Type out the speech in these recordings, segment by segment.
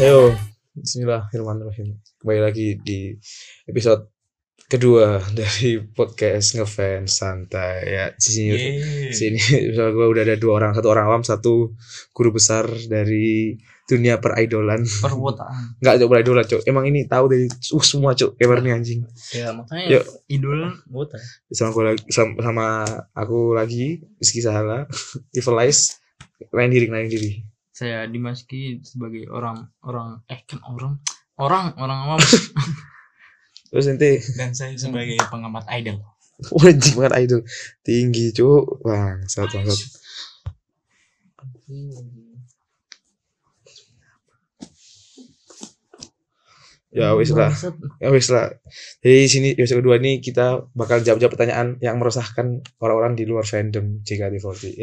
Ayo, bismillahirrahmanirrahim. Kembali lagi di episode kedua dari podcast ngefans santai ya di sini Iya. di Yeay. sini misalnya gue udah ada dua orang satu orang awam satu guru besar dari dunia peridolan Perbuatan. nggak coba peridolan cok emang ini tahu dari uh, semua cok kabar nih anjing Iya, Ya makanya Yuk. idol buta. sama gue lagi sama, sama aku lagi Rizky Sahala Evilize main diri main diri Saya Dimaski sebagai orang orang eh kan orang orang orang awam terus nanti Dan saya sebagai pengamat idol. Wah, anjing banget idol tinggi cuk bang satu bangsat ya wis lah Bangsat. ya wis lah jadi di sini episode kedua ini kita bakal jawab-jawab pertanyaan yang meresahkan orang-orang di luar fandom JKT48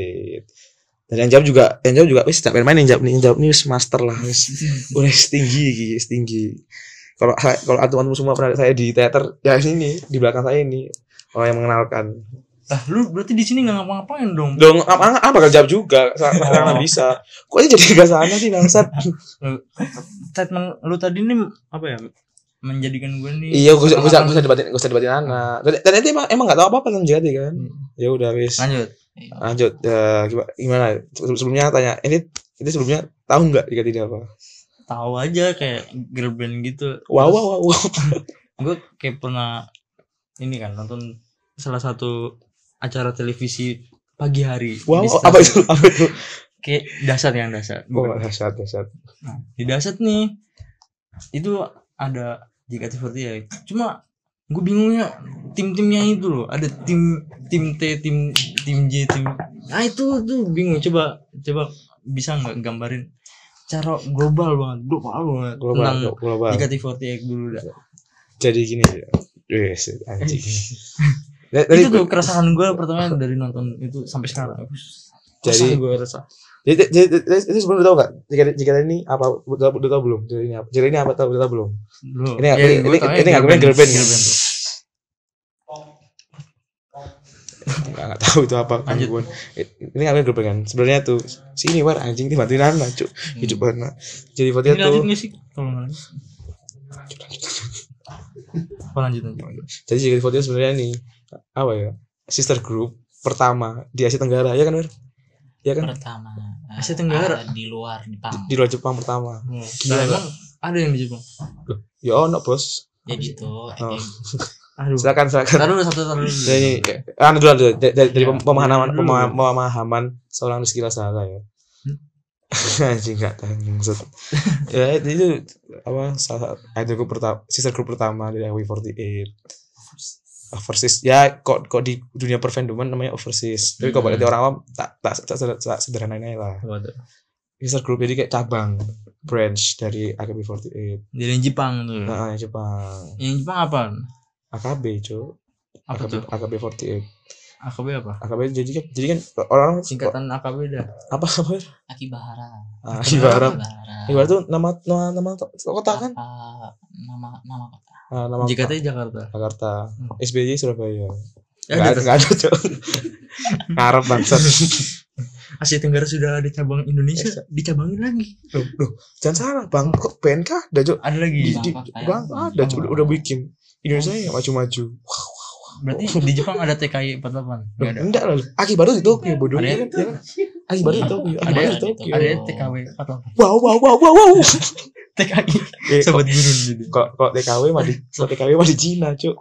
dan yang jawab juga yang jawab juga wis tak main-main yang jawab nih yang jawab nih wis master lah wis udah setinggi iki wis tinggi kalau kalau antum-antum semua pernah lihat saya di teater ya ini di belakang saya ini orang yang mengenalkan Lah lu berarti di sini nggak ngapa-ngapain dong. dong apa apa bakal jawab juga karena bisa kok ini jadi ke sana sih bangsat Statement lu tadi nih apa ya? Menjadikan gue nih iya gue gue usah debatin gue usah debatin anak tadi tadi emang emang nggak tahu apa apa tentang JKT kan ya udah wis lanjut. lanjut eh, gima- gimana Sebelum- sebelumnya tanya ini ini sebelumnya tahu nggak jika tidak apa Tahu aja kayak girl band gitu. wow wow wow, wow. Gue kayak pernah ini kan nonton salah satu acara televisi pagi hari. wow Di wow, stasiun. apa itu apa itu Kayak dasar yang dasar. oh dahsyat dahsyat Nah, di Daset nih itu ada JKT48. ya. Cuma gue bingungnya tim-timnya itu loh. Ada tim tim T, tim tim J, tim. Nah itu tuh bingung. Coba coba bisa nggak gambarin cara global banget, global banget global tentang global JKT48 dulu dah. jadi gini ya. wes anjing Dari- dari- itu tuh keresahan gue pertama dari nonton itu sampai sekarang. Jadi- gue resah. jadi jadi jadi- jadi sebelum tahu nggak jika jika ini apa udah udah tahu belum jadi ini apa jadi ini apa tahu udah tahu belum Loh, Ini nggak- ya, ini- gua ini- taunya ini nggak girl band, girl band. tuh. nggak nggak tahu itu apa Lanjut. gangguan Eh, ini ngambil grup kan sebenarnya tuh sini war anjing dia bantuin anak cuk hidup anak jadi Hmm. Ini fotonya lanjut tuh nggak sih? Tolong lanjut. Oh, lanjut lanjut. jadi jadi fotonya sebenarnya nih apa ya sister group pertama di Asia Tenggara ya kan war ya kan Pertama. eh, Asia Tenggara. ada di luar Jepang. di luar Jepang pertama Gila Nah, emang ada yang di Jepang. ya ono bos Jadi tuh ada Oh. yang- Aduh. silakan silakan Taruh dulu satu taruh dulu. jadi anu dulu dulu dari, dari- dari Hmm. Ya, pem- pemahaman dulu. pema- pemahaman seorang Rizky Lasala ya Hmm. anjing nggak tahan maksud ya itu apa salah satu idol group pertama sister group pertama dari AW48 overseas ya kok kok di dunia perfandoman namanya overseas tapi kalau Hmm. berarti orang awam tak tak tak, tak, tak sederhanain aja lah Apa tuh? user group jadi kayak cabang branch dari AKB48 Jadi yang Jepang tuh. nah yang Jepang Yang Jepang apa? AKB cu Apa AKB, tuh? AKB48 AKB apa? AKB jadi kan jadi kan orang Singkatan AKB dah. apa apa Akibahara. ah, ibarat Akibahara. Nah. ibarat tuh nama nama nama to- kota kan Apa nama nama kota? Ah, nama JKT Jakarta. Jakarta Hmm. SBY Surabaya Ya, nggak ada ada. nggak ada cu ngarep bangsat Asia Tenggara sudah ada cabang Indonesia, dicabangin lagi. loh, loh, jangan salah bang kok BNK ada cu Ada lagi. di, di, Bangkok, ya. Thailand. bang ada cu- udah, udah bikin Indonesia ya maju-maju Berarti di Jepang ada TKI 48. Loh, Enggak ada. enggak lah Aki baru di Tokyo bodoh Iya, Ada Iya. ya kan, ya kan? Aki baru di Tokyo Aki Ada- baru di ada- Tokyo Ada TKW 48. wow wow wow wow wow TKI Eh, sobat gurun gitu. kok kok TKW mah di kok TKW mah di Cina cuk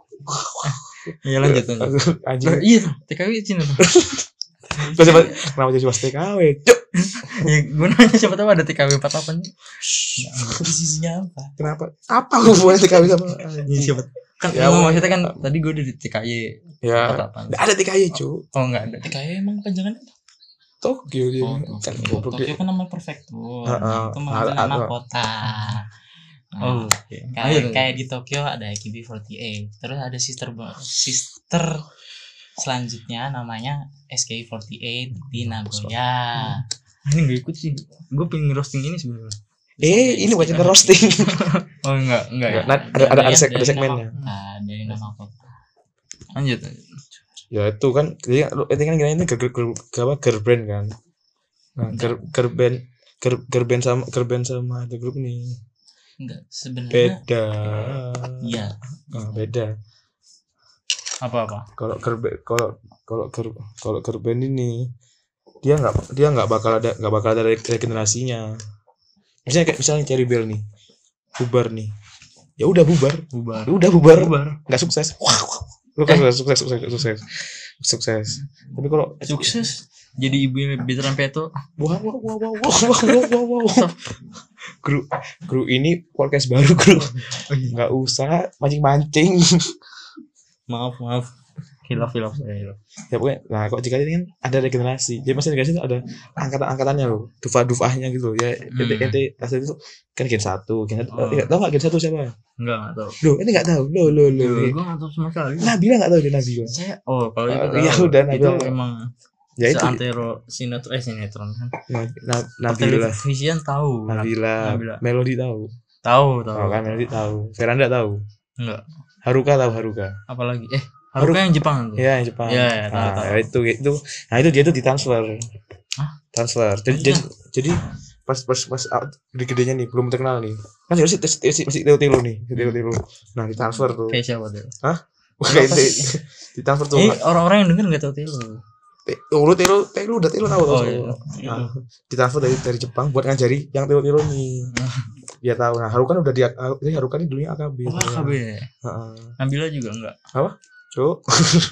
Ya lanjut lanjut. Nah, anjing iya, TKW Cina. tuh. Terus siapa kenapa jadi bahas TKW cuk ya, gue nanya siapa tahu ada TKW 48 nih. Iya, Posisinya apa? kenapa apa hubungannya TKW sama Ini siapa? Kan Ya, emang weh. maksudnya kan tadi gue udah di TKY ya 48. nggak ada TKW cuk Oh enggak ada. TKI Eh, emang panjangan Tokyo dia Oh, kan Tokyo. goblok Tokyo dia. kan nama prefektur. Ah, ah. Itu maksudnya Ah, nama ah. kota. Nah, Oh, oke. Ayo, kayak kayak di Tokyo ada AKB48 terus ada sister bo- sister selanjutnya namanya SK48 di Nagoya ini gak ikut sih. Gue pengen roasting ini sebenarnya. eh ini bukan roasting Oh enggak, enggak ya. Nggak, nah, ada- ada- ada seg- ada segmennya. nah, dari nama kota Lanjut. lanjut. ya itu kan jadi lu itu kan kira ini girl, girl, girl, apa, girl band kan nah girl, girl band girl, girl band sama girl band sama the group nih Enggak, sebenarnya beda iya. Ah, beda apa apa kalau kerbe kalau kalau ker kalau kerben ini dia nggak dia nggak bakal ada nggak bakal ada re- regenerasinya misalnya kayak misalnya Cherry Bell nih bubar nih ya udah bubar bubar Ya udah bubar bubar nggak sukses Wah, wah. sukses sukses sukses sukses sukses tapi kalau sukses jadi ibu veteran peto wah wah wah wah wah wah wah wah wah wah kru kru ini podcast baru kru nggak usah mancing mancing maaf maaf hilaf hilaf saya hilaf ya pokoknya nah kok jika ini kan ada regenerasi jadi maksudnya regenerasi itu ada angkatan angkatannya loh dufa dufahnya gitu loh. ya ente Hmm. ente asal itu kan gen satu gen satu Oh. eh, tau nggak gen satu siapa enggak enggak tahu lo ini nggak tahu lo lo lo Loh, gua nggak tahu sama sekali Nabila nggak tahu dia Nabila saya oh kalau itu Oh, iya, tahu. udah, itu Nabil. emang ya itu seantero sinetron eh sinetron kan Na- Na- Nabila televisian tahu Nabila Nabila. Melody tahu tahu tahu tahu kan Melody tahu Veranda tahu enggak Haruka tahu Haruka apalagi eh Haruka yang Jepang tuh ya yang Jepang Iya, iya, tahu, nah, tahu. ya itu itu nah itu dia tuh ditransfer Hah? transfer jadi Iya. jadi, jadi pas pas pas out- gede gedenya nih belum terkenal nih kan sebenarnya sih masih masih- masih tiru tiru nih masih tiru tiru nah ditransfer tuh kayak siapa tuh oke Hmm. Apa di- ditransfer tuh Nah, eh orang-orang yang denger nggak tahu tilu Te- lu tiru tiru udah tiru tahu oh tuh iya. nah, ditransfer dari dari Jepang buat ngajari yang tiru tiru nih dia tahu nah Harukan udah dia jadi Harukan ini dulunya AKB Wah, KB. Nabila juga enggak. cuk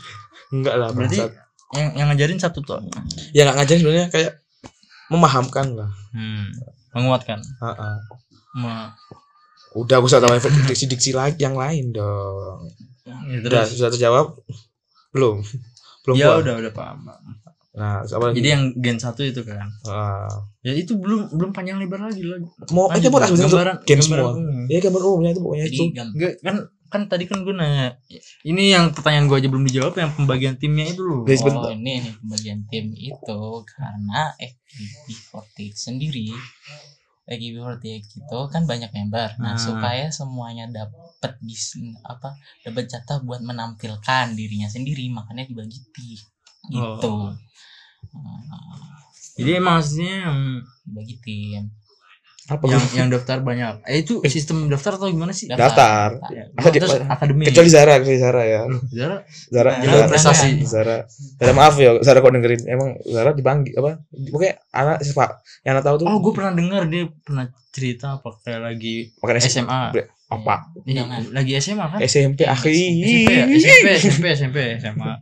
enggak lah Berarti bangsat. yang yang ngajarin satu tuh. ya nggak ngajarin sebenarnya kayak memahamkan lah Hmm. Menguatkan. Heeh. Ma- Udah gak usah tambahin diksi-diksi lagi yang lain dong. ya, Udah terus. sudah terjawab? Belum. Belum. ya puas. udah udah paham. Nah, terus apa lagi? Jadi yang gen satu itu kan. Ah. Ya itu belum belum panjang lebar lagi lagi. mau itu buat asbun itu. gambaran, gen gambaran semua. umum. Ya gambar umumnya itu pokoknya Jadi itu. gam- Enggak kan kan tadi kan gue nanya ini yang pertanyaan gue aja belum dijawab yang pembagian timnya itu loh. Guys, Oh bentar. ini nih pembagian tim itu karena FKB48 sendiri FKB48 itu kan banyak member. Nah, Hmm. supaya semuanya dapat bis apa dapat jatah buat menampilkan dirinya sendiri makanya dibagi tim gitu. Oh. Nah, Jadi emang aslinya yang dibagi tim. Apa? yang, yang daftar banyak. Eh itu sistem daftar atau gimana sih? Daftar. daftar. Apa dia- Terus akademi. Kecuali Zara, kecuali Zara ya. Zara Zara, Nah, Zara, prestasi. Zara. Zara maaf ya, Zara kok dengerin. Emang Zara dipanggil apa? Pokoknya anak siapa? Yang anak tahu tuh. Oh, gue pernah dengar dia pernah cerita apa kayak lagi Makanya si- SMA. Bre- apa? Iya, Jangan. lagi SMA kan? SMP Eh, akhi. SMP, Iya, ya? SMP, SMP, SMP, SMA.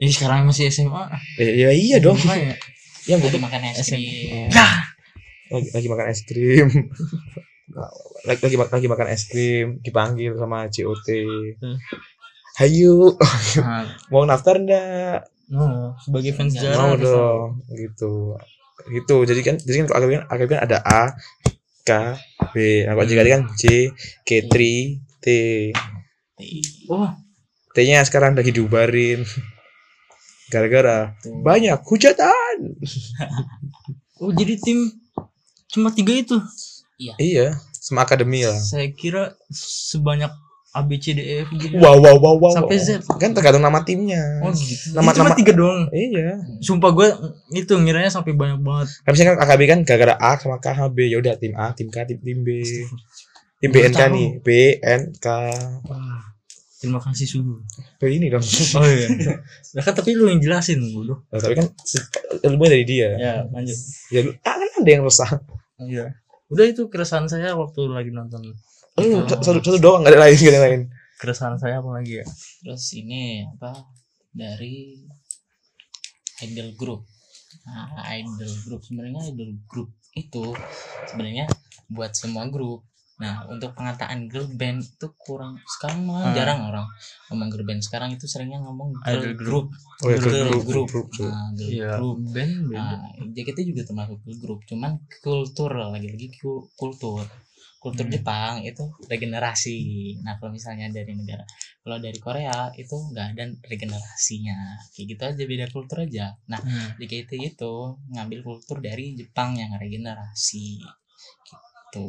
Ini sekarang masih SMA. Ya, ya iya dong. Makanya. Yang gue lagi, Lagi makan es krim. lagi makan es krim lagi, lagi lagi makan es krim dipanggil sama COT Hmm. Hayu Nah, mau daftar ndak no, sebagai fans Nggak Zara mau harus tahu. dong gitu gitu jadi kan jadi kan kalau AKB kan AKB kan ada A K B nah kalau JKT kan C K3 T Wah, T nya sekarang lagi diubarin gara-gara Gitu. banyak hujatan oh jadi tim cuma tiga itu. iya sama akademi lah Saya kira sebanyak A B C D E F G wow wow wow wow sampai wow. Z. kan tergantung nama timnya Oh gitu. Nama- Nama, cuma nama- tiga doang. iya Sumpah gue itu ngiranya sampai banyak banget. Kan misalnya kan AKB kan gara-gara A sama K sama B ya udah tim A, tim K, tim tim B. Tim Baru BNK tahu. nih, B N K. Wah, terima kasih sungguh. Kayak ini dong. Oh iya. Lah kan tapi lu yang jelasin bodoh. Nah, tapi kan se- ilmunya dari dia. Ya, lanjut. Ya lu ah, kan ada yang resah. Iya. Udah itu keresahan saya waktu lagi nonton. Lu Iya. satu, satu doang gak ada lain, gak ada lain. Keresahan saya apa lagi ya? Terus ini apa dari idol group. Nah, idol group sebenarnya idol group itu sebenarnya buat semua grup. Nah, untuk pengataan girl band itu kurang sekarang Ah. malah jarang orang ngomong girl band. Sekarang itu seringnya ngomong girl Idol group. iya, group. Oh ya, grup, Girl grup, group. grup, grup, grup. Nah, girl Iya. group. Band, band. Nah, JKT juga termasuk girl group, cuman kultur lagi-lagi ku- kultur. Kultur Hmm. Jepang itu regenerasi. Nah, kalau misalnya dari negara, kalau dari Korea itu nggak ada regenerasinya. Kayak gitu aja beda kultur aja. Nah, Hmm. JKT itu ngambil kultur dari Jepang yang regenerasi. Gitu.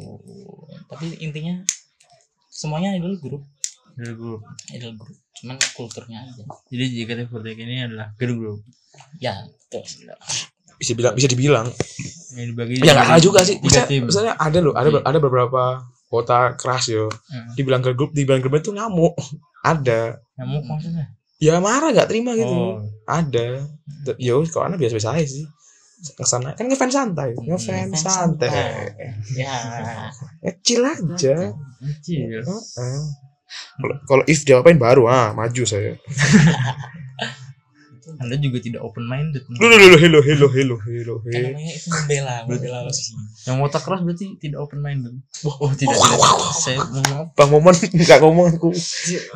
Tapi intinya semuanya idol group, Girl group. idol group. Cuman kulturnya aja. Jadi JKT48 ini adalah girl group. Ya, betul. Bisa bilang bisa dibilang. Yang dibagi Ya jadi enggak salah juga sih. Iya, tiga Bisa tim. misalnya ada loh, ada Iya. ada beberapa kota keras yo Hmm. dibilang ke grup dibilang grup itu ngamuk ada nyamuk maksudnya ya marah nggak terima gitu oh ada Te- ya wis, kalau anak biasa biasa aja sih kesana kan ngefans santai Iya, ngefans Ngefans santai santai. ya kecil aja kecil Heeh. kalau kalau if diapain baru ah maju saya anda juga tidak open minded Lu, lu, lu, hello hello hello hello kan hello namanya itu membela membela yang otak keras berarti tidak open minded Wah, oh tidak, wah, tidak. wah, wah. saya mau maaf bang momen nggak ngomong aku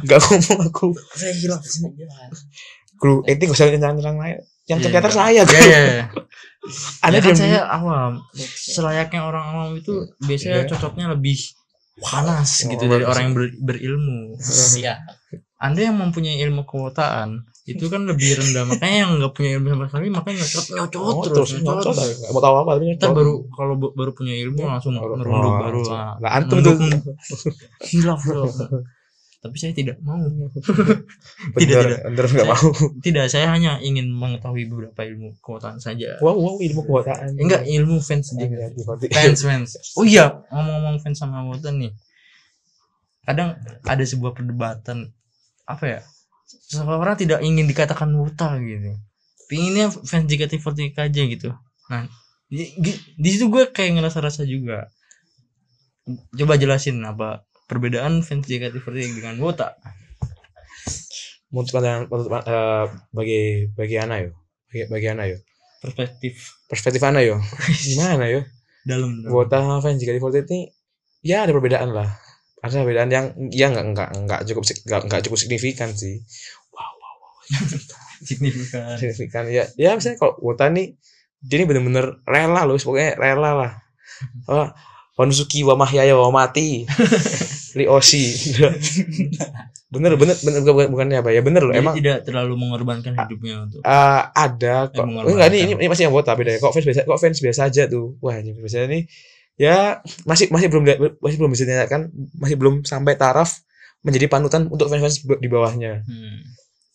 nggak ngomong aku saya hilang kru ini gak usah nyerang-nyerang lain yang Iya. tercatat saya ya kru ya ya. ada Ya kan yang saya awam selayaknya orang awam itu biasanya Iya. cocoknya lebih panas Oh, gitu dari bagus. orang yang ber- berilmu Iya. ya anda yang mempunyai ilmu kewotaan itu kan lebih rendah makanya yang nggak punya ilmu sama sekali makanya nyocot nyocot Oh, terus terus nyocot, Iya. nyocot aja. Nggak mau tahu apa tapi Ntar nyocot baru kalau bu- baru punya ilmu langsung Baru- merunduk oh, baru langsung. ah, Lah, antum tuh. mendukung. hilaf hilaf. tapi saya tidak mau Bener, tidak. bener nggak mau tidak Iya, saya hanya ingin mengetahui beberapa ilmu kewotaan saja wow wow ilmu kekuatan enggak ilmu fans Anjing, juga anjing, anjing. fans fans oh iya ngomong-ngomong fans sama Wotan nih kadang ada sebuah perdebatan apa ya seseorang tidak ingin dikatakan Wota gitu pinginnya fans JKT48 aja gitu nah di, di- di situ gue kayak ngerasa rasa juga coba jelasin apa perbedaan fans JKT48 dengan Wota menurut pandangan menurut pan- eh, bagi bagi ana yo bagi, bagi ana yo perspektif perspektif ana yo gimana yo dalam buat fans jika di ini ya ada perbedaan lah ada perbedaan yang ya nggak nggak nggak cukup sig- nggak nggak cukup signifikan sih signifikan signifikan ya ya misalnya kalau Wota nih dia ini bener-bener rela loh pokoknya rela lah oh, Wanusuki wa mahyaya wa mati Rioshi bener bener bener bukan bukannya apa ya bener loh Dia emang tidak terlalu mengorbankan hidupnya untuk eh, ada kok Emang oh, enggak ngorbanin. nih ini, ini masih yang Wota bedanya kok fans biasa kok fans biasa aja tuh wah ini fans biasa nih ya masih masih belum masih belum bisa dinyatakan masih belum sampai taraf menjadi panutan untuk fans-fans di bawahnya Hmm.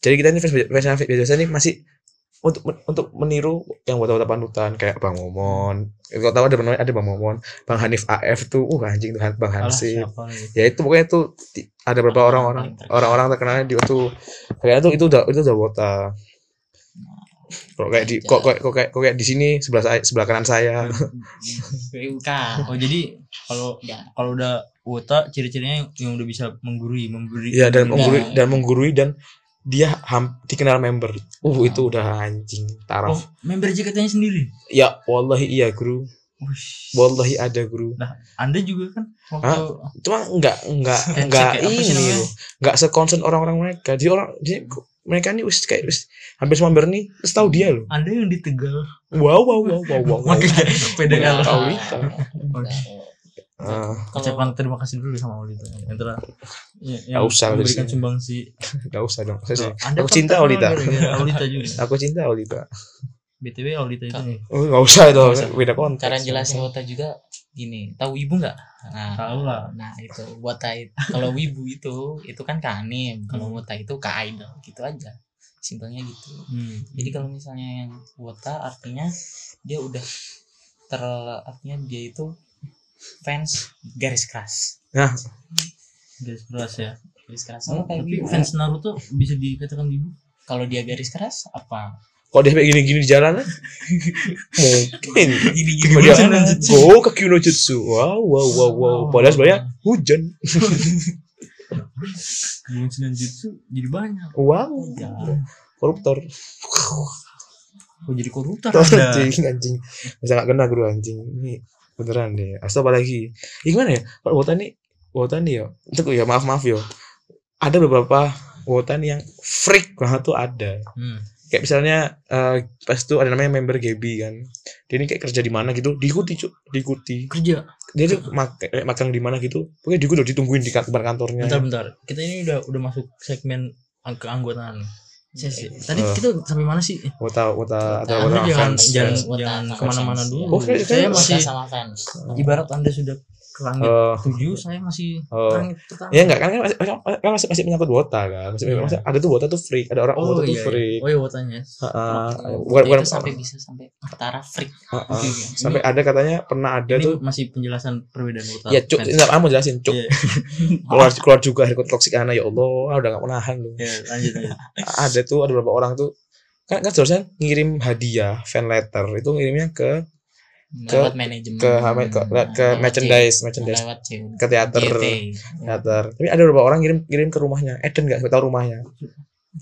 jadi kita ini fans fans fans biasa nih masih untuk untuk meniru yang buat buat panutan kayak Bang Momon. Kalau tahu ada Bang- ada Bang Momon, Bang Hanif AF tuh, uh anjing tuh Han- Bang Alah, Hansip. siapa lagi? Ya itu pokoknya itu ti- ada beberapa orang-orang orang-orang terkenalnya di itu kayaknya tuh itu udah itu udah wota. Nah, Kok kayak di kok kok kok kayak kok kayak di sini sebelah saya, sebelah kanan saya. Nah, BUK Oh jadi kalau ya kalau udah wota ciri-cirinya yang, yang udah bisa menggurui, memberi. Ya dan menggurui memberi- dan menggurui dan dia ham, dikenal member. Uh itu udah anjing Nah. Oh, taraf. member JKT-nya sendiri. Ya wallahi iya guru. Wush. Wallahi ada guru. Anda juga kan waktu cuma nggak nggak Handshake nggak ya, apa sih namanya? ini loh nggak sekonsen orang-orang mereka jadi orang jadi ku- mereka nih wis kayak wis hampir semua member nih terus tahu dia loh Anda yang di Tegal. wow wow wow wow wow, wow. Makanya PDL. Wow. Paulita. Bentar. Ah, Ucapan terima kasih dulu sama Olita yang telah ya- Nggak yang usah, memberikan harusnya. sumbangsi. nggak usah dong saya sih- Anda Aku kan cinta terkenal Olita. gara-gara Olita juga. aku cinta Olita BTW Olita itu ya. Kak. nih. oh, nggak usah itu Nggak usah. beda konteks cara jelasin wota juga gini tahu ibu nggak nah, Tahu lah. nah itu wota itu kalau wibu itu itu kan kanim kalau wota itu ke idol gitu aja simpelnya gitu Hmm. jadi kalau misalnya yang wota artinya dia udah ter artinya dia itu fans garis keras nah Garis keras ya. garis keras sama kayak Tapi wibu. fans Naruto bisa dikatakan ibu. kalau dia garis keras apa kalau dia sampai gini-gini di eh? jalanan mungkin gini Kalau dia go ke Kyuno Jutsu wow wow wow wow padahal sebenarnya hujan Kemungkinan jutsu jadi banyak. wow koruptor Oh jadi koruptor Tolong Anda. anjing anjing bisa nggak kena guru anjing ini beneran deh Astaga apa lagi ya, gimana ya kalau wota nih wota nih ya itu ya maaf maaf yo ada beberapa wota nih yang freak banget tuh ada Hmm. kayak misalnya eh, pas itu ada namanya member Gaby kan dia ini kayak kerja di mana gitu diikuti cuk diikuti Kerja. dia tuh mak kayak magang di mana gitu pokoknya diikuti loh, ditungguin di kan- depan kantornya Bentar bentar. Kita ini udah udah masuk segmen ang- keanggotaan. Sesi. iya. Tadi Eh. kita sampai mana sih? wota wota atau wota Anda jangan- fans jangan- Wota jangan sama kemana-mana fans, dulu. ya. kan? Oh, saya- saya saya masih masih- sama fans Ibarat Anda sudah ke langit Eh, tujuh saya masih eh, langit pertama ya enggak kan kan masih, kan masih, masih menyangkut wota kan masih, Iya. masih- ada tuh wota tuh freak ada orang wota tuh iya, iya. freak oh iya wotanya Heeh. Ah, Waktu eh, bukan dia bukan Iya, itu sampai bisa sampai ketara freak Iya, heeh. Oke, oke. sampai ada katanya pernah ada ini tuh masih penjelasan perbedaan wota ya cuk versi- ini apa mau jelasin cuk Iya, keluar keluar juga dari toksik anak ya allah udah gak mau nahan lu iya, lanjut lanjut ada tuh ada beberapa orang tuh kan kan seharusnya ngirim hadiah fan letter itu ngirimnya ke lewat manajemen Nah, ke ya, ke ke, ke Lewat merchandise C- merchandise ya, lewat C- ke teater GT. Iya, teater tapi ada beberapa orang ngirim ngirim ke rumahnya Eden nggak tahu rumahnya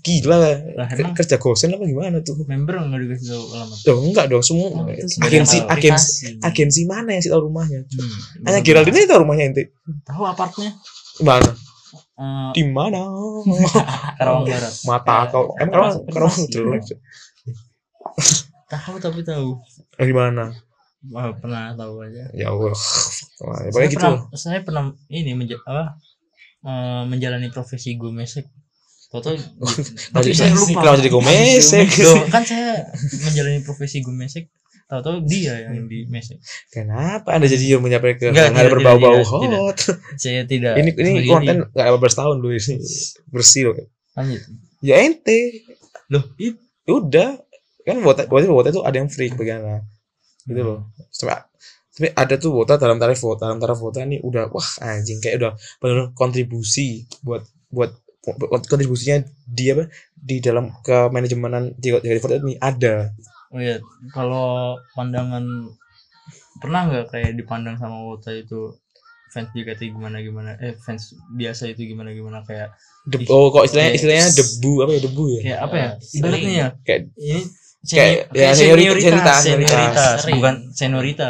gila lah Ke- emang kerja gosen apa gimana tuh member nggak dikasih tahu Hmm, alamat dong enggak dong semua Oh, itu sebenarnya agensi malah agensi privasi. agensi mana yang sih tahu rumahnya Hmm, hanya bener-bener. Geraldine yang tahu rumahnya inti tahu apartnya mana Eh, di mana Karawang Barat mata Iya. Ya, kau kan emang karawang masuk karawang privasi. jelek tahu tapi tahu Eh, di mana Wah, pernah tahu aja ya allah Wah, ya, saya pokoknya gitu pernah saya pernah ini menja- apa eh, menjalani profesi gue mesek Toto tapi Jadi saya mesek, lupa kenapa jadi gue mesek? Loh, kan saya menjalani profesi gue mesek tahu-tahu dia yang di mesek kenapa anda jadi yang menyampaikan ke Enggak, yang ada tidak, berbau-bau tidak, tidak. hot saya tidak ini ini sebagai konten dia. nggak 18 tahun lu ini bersih loh lanjut ya ente loh itu Ya udah kan buat buat buat itu ada yang free bagaimana gitu loh sampai tapi ada tuh wota dalam tarif wota dalam tarif wota nih udah wah anjing kayak udah bener kontribusi buat buat buat kontribusinya dia apa di dalam ke manajemenan di di Wota ini ada Oh iya, kalau pandangan pernah nggak kayak dipandang sama Wota itu fans JKT gimana gimana eh fans biasa itu gimana gimana kayak Deb- oh kok istilahnya Kayak- istilahnya debu apa ya debu ya kayak apa ya Sering. ibaratnya ya Kayak- ini kayak- seni- kayak ya, senioritas, senioritas senioritas. senioritas Sering. bukan seniorita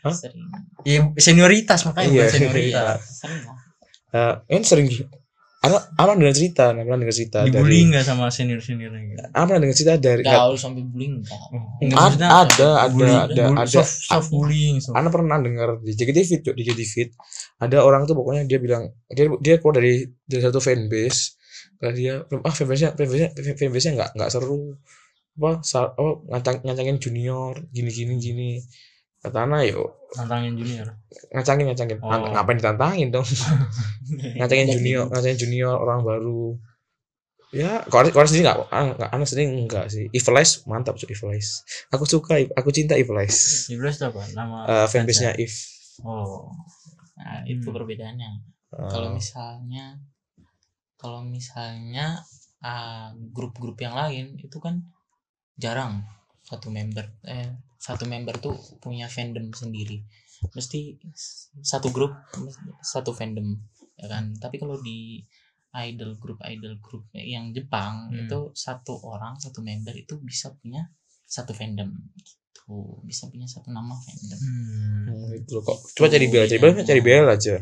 Hah? sering ya senioritas makanya Iya. bukan senioritas sering lah Eh, ini sering Ana, Ana dengar cerita, Ana pernah dengar cerita dibully dari nggak sama senior seniornya gitu Oh, Ana pernah dengar cerita dari gaul sampai bullying enggak Ad- Nggak, maksudnya ada, ada, bullying, ada, bully- ada. soft, soft bullying soft. Ana pernah dengar di JKT Fit, Cuk, di JKT Fit ada orang tuh pokoknya dia bilang dia dia keluar dari dari satu fanbase karena dia ah fanbase-nya fanbase-nya fanbase-nya nggak nggak seru apa sa- apa, ngacang, ngacangin junior gini gini gini kata Ana yuk nantangin junior ngacangin ngacangin Oh. Ang- ngapain ditantangin dong ngacangin junior ngacangin junior orang baru ya kalau Ana- kalau Ana sendiri nggak Ana- nggak Ana sendiri nggak sih Evilize mantap cuy Evilize aku suka aku cinta Evilize Iblis itu apa nama Eh fansnya? fanbase-nya If oh nah itu Hmm. Ah. perbedaannya Eh, kalau misalnya kalau misalnya ah, grup-grup yang lain itu kan jarang satu member eh satu member tuh punya fandom sendiri mesti s- satu grup mes- satu fandom ya kan tapi kalau di idol grup idol grup yang Jepang Hmm. itu satu orang satu member itu bisa punya satu fandom gitu bisa punya satu nama fandom Hmm. Hmm, gitu loh kok. Coba cari Bella, cari Bella, bedanya. cari Bella aja.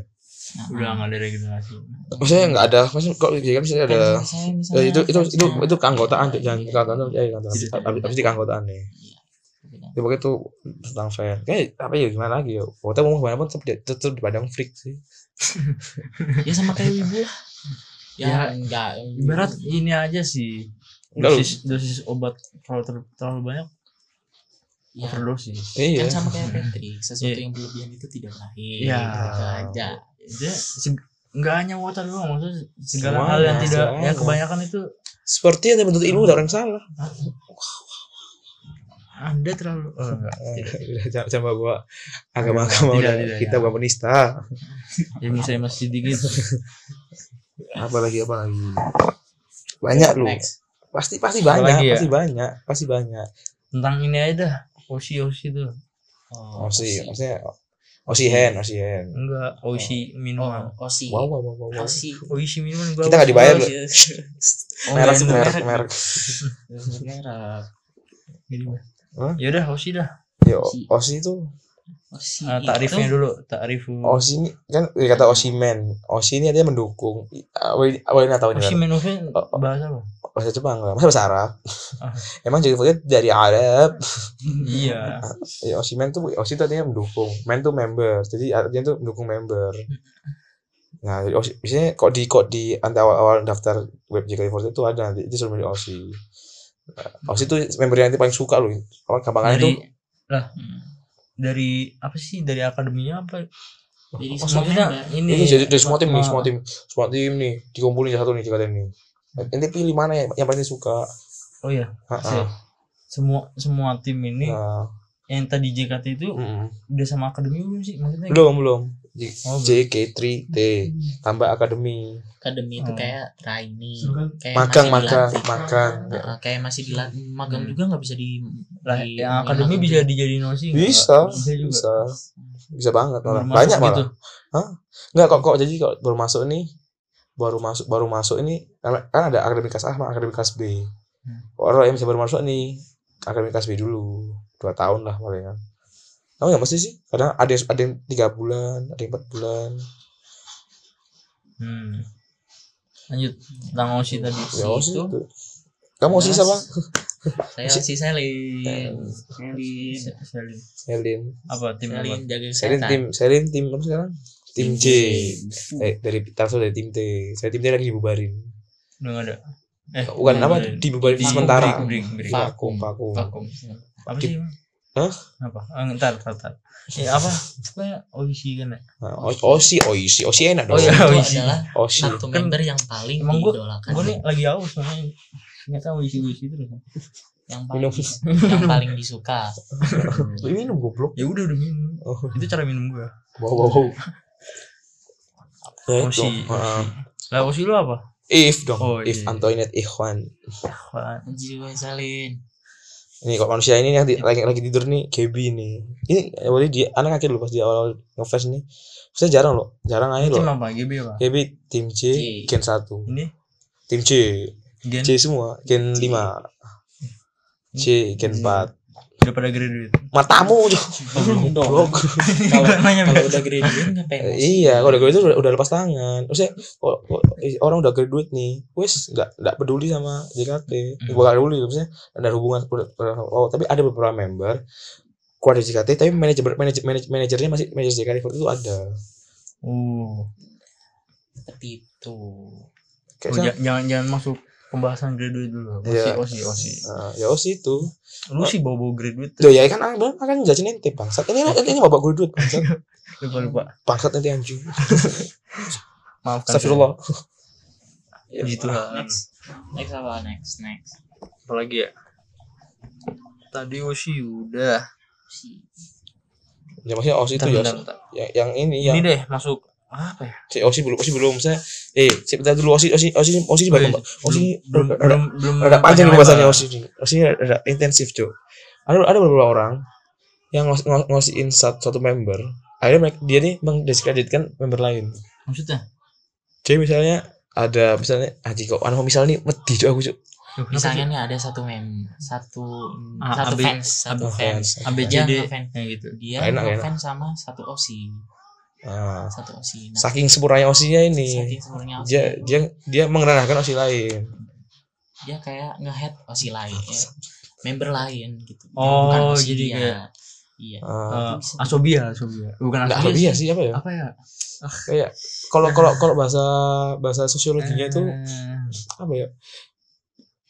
Nah, udah nggak ada regenerasi Maksudnya nggak ada, maksudnya kok dia kan misalnya ada Kayak misalnya- misalnya Eh, itu itu itu fansnya- itu keanggotaan tuh jangan Iya. keanggotaan tuh, ya keanggotaan. Tidak. Habis- habis di keanggotaan nih. Iya, perbedaan. Ya pokoknya itu tentang fan. Kayak apa ya gimana lagi ya. Pokoknya mau gimana pun tetap di- tetap di padang freak sih. ya sama kayak wibu lah ya, Ya, enggak Berat ini aja sih Enggak, lu- dosis dosis obat terlalu ter- terlalu banyak ya, overdosis Iya. kan sama kayak Patrick Iya. sesuatu yang berlebihan itu tidak baik Iya. gitu aja dia seg- nggak hanya water doang maksudnya segala Semuanya, hal yang tidak semuanya. yang kebanyakan itu Seperti yang menuntut ilmu ada orang yang salah. anda terlalu oh, enggak. Udah jangan jangan bawa agama-agama Tidak, udah tidak, kita ya. bukan penista. ilmu saya masih Ya, sedikit Apalagi apalagi. Banyak lu. next Pasti pasti Apa banyak, lagi ya? pasti banyak, pasti banyak. tentang ini aja dah oshi oshi tuh Oh sih, maksudnya oh sih hand, oh sih hand. enggak oshi minuman oh osi Wow, wow, wow, wow, wow. osi oshi minuman gua Oh. Kita nggak dibayar loh. Oh, Merek, iya, merek, merek. merek. merah Gini, gua. Hah? Yaudah oshi Ya dah Yo, Osi. Osi itu, osi Ah, takrifnya dulu takrifu Osi ini kan dia kata Osi man. Osi ini dia mendukung. Ah, Awalnya awalnya tahu ini oshi kan. menu bahasa apa Bahasa Jepang lah, masa bahasa Arab. Ah. Emang jadi fotonya dari Arab. iya Ya, Osi man tuh Osi itu artinya mendukung. Man tuh member. Jadi artinya tuh mendukung member. Nah, jadi Osi biasanya kok di kok di antara awal-awal daftar web JKT48 itu ada nanti itu suruh milih Osi. Nah, Osi tuh member yang nanti paling suka loh. Hmm. Orang gampangannya tuh dari dari apa sih dari akademinya apa Jadi Oh, semua maksudnya member. ini Ini jadi dari semua tim nih, Ah. semua Iya, tim, semua tim nih dikumpulin satu nih dikatain nih. Ente pilih mana ya yang paling suka? Oh iya, Ha-ha. Sip. semua semua tim ini Nah, yang tadi JKT itu mm-mm. udah sama akademi belum sih maksudnya? belum belum. J- Oh, JK3T tambah akademi, akademi itu Hmm. kayak trainee Seru kan? kayak magang masih magang dilatih. magang. Nah, kayak masih dilatih magang Hmm. juga nggak bisa di, Lah, di- yang akademi dimagang bisa dijadiin osi nggak? Iya, Bisa, bisa juga. bisa, bisa banget malah. Baru masuk Banyak malah. gitu. Enggak kok kok jadi kok baru masuk nih baru masuk baru masuk ini kan kan ada akademi kelas A sama akademi kelas B. Hmm. Orang yang bisa baru masuk nih akademi kelas B dulu dua tahun lah palingan. Tahu nggak pasti sih kadang ada yang- ada yang tiga bulan ada yang empat bulan. Hmm. Lanjut tentang osi tadi. Ya Osi osis itu. itu. Kamu osis Jelas. siapa? saya Si- si Selin Selin Selin. Selin. Apa tim apa? Selin jaga Selin kesehatan. tim Selin tim apa sekarang? Tim J. J. Eh dari Tarso dari tim T. Saya tim T lagi dibubarin. Udah nggak ada. Eh, Bukan udah apa nggak ada. dibubarin Di- sementara. break, break, break. Vakum vakum. Vakum. Apa Di- sih? emang? Hah? Apa? Ah, ntar, ntar, ntar. Ya apa? Pokoknya osi kan ya. Nah, osi osi osi enak Oh, dong. iya. Itu Oisi. adalah Osi. satu Kan- member yang paling Emang gua- diidolakan Gue nih lagi haus makanya. Ternyata osi osi terus. yang Minum. paling yang paling disuka Lu minum goblok. Ya udah udah minum. Oh. Itu cara minum gue. Wow wow. wow. Ya itu. Osi. Heeh. Lah osi lu apa? If dong. Oh, If iya. Antoinette Ikhwan. Apaan? jiwa Selin Ini kok manusia ini yang di- lagi lagi tidur nih Gaby nih. Ini awalnya dia anak kaki dulu pas dia awal ngefest nih. Saya jarang loh, jarang aja Tim loh. apa? GB apa? Gaby tim C, J. Gen 1. Ini Tim C, Gen Hmm. C semua, Gen 5. C, Gen 4. udah pada graduate. Hmm. Matamu tuh. belum Blok. kalau Gua nanya, kalau Bel. udah graduate ngapain Eh, masih? Iya, kalau udah graduate udah, udah lepas tangan. Maksudnya o- o- eh, orang udah graduate nih, wes nggak nggak peduli sama JKT. Hmm. Bukan nggak peduli, maksudnya ada hubungan. udah- udah- Oh, tapi ada beberapa member keluar dari JKT, tapi manajer manajer manajer- manajernya masih manajer JKT itu ada. Uh, seperti itu Kayak Oh, saya- ja- jangan jangan masuk pembahasan graduate dulu. Osi, Iya. osi, osi. Nah, ya oh sih itu. Lu sih bawa bawa graduate. Tuh ya kan akan akan jajin ente bangsat. Ini lo- ini bapak gue duit bangsat. Lupa lupa. Bangsat ente anjing. Maafkan. Astagfirullah. Iya. Gitu. saya. Puji Tuhan. next next apa next next Apalagi ya. Tadi osi udah. si Ya maksudnya Osi itu Bentar, ya. bentar, bentar. Yang, yang ini ya. Ini deh masuk apa ya? Si Osi belum Osi belum saya. Eh, si bentar dulu Osi Osi Osi Osi di Belum- Batam- Osi Oh, iya. belum rada- belum belum rada panjang panjang nih bahasannya lebar. Osi ini. Osi ini rada intensif, Cok. Ada ada beberapa orang yang ngos, ngos, ngosiin satu, satu member. Akhirnya mereka, dia nih mendiskreditkan member lain. Maksudnya? Jadi misalnya ada misalnya Aji kok anu misalnya nih wedi Cok, aku Cok. misalnya nih ada satu mem satu Ah, satu ambil- fans satu Oh, fans dia ABCD ngefans yang gitu. dia Enak, enak. ngefans sama satu osi Ah, satu osi nah, saking sempurnanya osinya ini. saking sebenarnya osi Dia dia dia mengerahkan osi lain. dia kayak nge-head osi lain ya. member lain gitu Oh, OSI jadi dia. kayak- iya Ah, Eh, asobia, asobia. Bukan enggak asobia. lebih ya Iya sih. sih apa ya? Apa ya? kayak kalau kalau kalau bahasa bahasa sosiologinya itu Eh, apa ya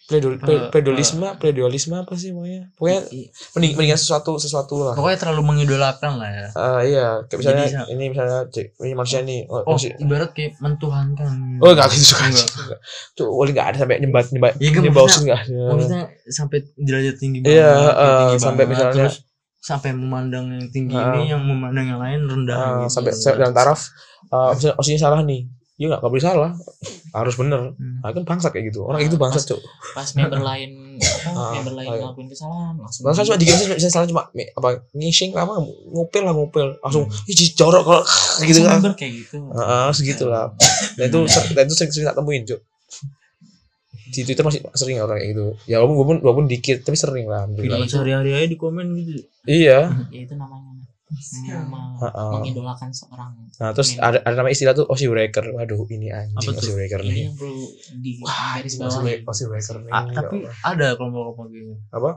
Pledol, Eh, ple- pledolisme, eh. pledolisme apa sih pokoknya? Pokoknya I- mending, mendingan sesuatu sesuatu lah. Pokoknya terlalu mengidolakan lah ya. Eh, iya, kayak misalnya Oh. Jadi, sa- ini misalnya cek ini manusia nih. Oh, Oh, masih- ibarat kayak mentuhankan. oh enggak gitu suka. Enggak. Tuh, wali enggak ada sampai nyembat nyembat Iya, kan nyembausin enggak maksudnya- ada. Maksudnya sampai derajat tinggi banget. Iya, kayak eh, tinggi sampai banget, misalnya- terus sampai memandang yang tinggi Eh. ini yang memandang yang lain rendah Eh, gitu. sampai sampai dalam taraf eh, misalnya osinya salah nih. Iya enggak, enggak boleh salah. Harus bener. Hmm. Nah, Ah, kan bangsat kayak gitu. Orang kayak gitu Pas- bangsat, Cuk. pas member lain apa Ah, member lain ayo. ngelakuin kesalahan langsung Bangsa di- Nah, cuma dikit cuma misalnya salah cuma mi- apa ngising lama ngupil lah ngupil langsung ih jijik jorok kalau gitu langsung kan. member kayak gitu Heeh, segitu lah. Dan itu ser- dan itu sering-sering tak temuin, Cuk. Di Twitter masih sering orang kayak gitu. Ya walaupun walaupun, walaupun dikit tapi sering lah. alhamdulillah. Video sehari-hari aja di komen gitu. Iya. ya itu namanya mem- Heeh. mengidolakan seorang Nah, terus Mem- ada ada nama istilah tuh Osi Breaker. Waduh, ini anjing Apa tuh? Iya. Osi Breaker ini nih. yang perlu di garis Osi bawah ya. Break- Osi Breaker nih. Ah, ya tapi Allah. ada kelompok-kelompok gitu. apa?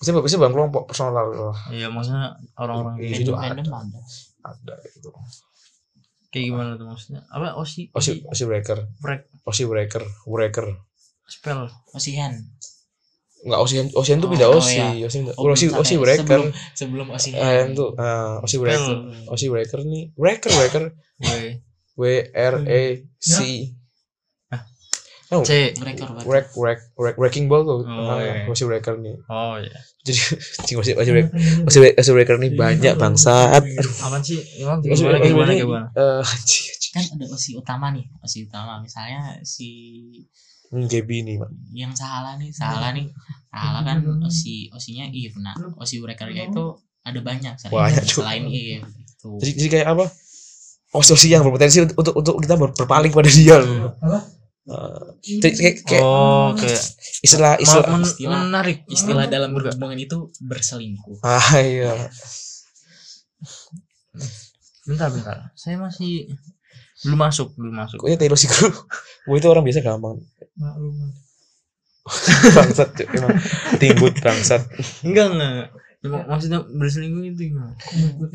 Maksudnya bisa bang kelompok personal oh, lah. Iya, maksudnya orang-orang Iya. kayak, itu random ada Ada gitu. kayak gimana tuh maksudnya? Apa osi? Osi Osi Breaker. Break. Osi Breaker, Breaker. spell. Osi hand Enggak Ocean Ocean tuh Oh, pindah oh, Osi. iya. Osi pindah. Oh, Osi bentar Osi ya. Breaker. Sebelum Hmm. sebelum Osi Eh itu eh, Osi Breaker. Osi Breaker nih. Breaker Breaker Oh, iya. Gue W R E C C. Hmm. breaker breaker. Wreck Wreck Wreck Wrecking Ball tuh. Oh, namanya. iya. Osi Breaker nih. Oh iya. Jadi cing Osi Osi Breaker. Osi Breaker, Osi Breaker Iya, nih banyak bangsat. Aduh. Apaan sih? Emang Osi gimana Osi gimana Breaker nih, gimana? eh, anjing, anjing. Kan ada Osi utama nih, Osi utama. Misalnya si Hmm, GB nih, Pak. yang salah nih salah nih salah kan osi osinya if nah osi breakernya itu ada banyak selain, Banyak, cuy. selain gitu. if tuh Jadi, jadi kayak apa? Osi-osi yang berpotensi untuk untuk, untuk kita ber- berpaling pada dia. loh. Eh, jadi kayak, kayak Oh, oke. istilah istilah Men- istilah- menarik istilah Hmm. dalam berhubungan itu berselingkuh ah iya Bentar, bentar. Saya masih belum masuk, belum masuk. pokoknya Taylor sih gue gue itu orang biasa gampang bangsat cuy. emang timbut bangsat Enggak, enggak. Ya, mak- maksudnya berselingkuh itu gimana?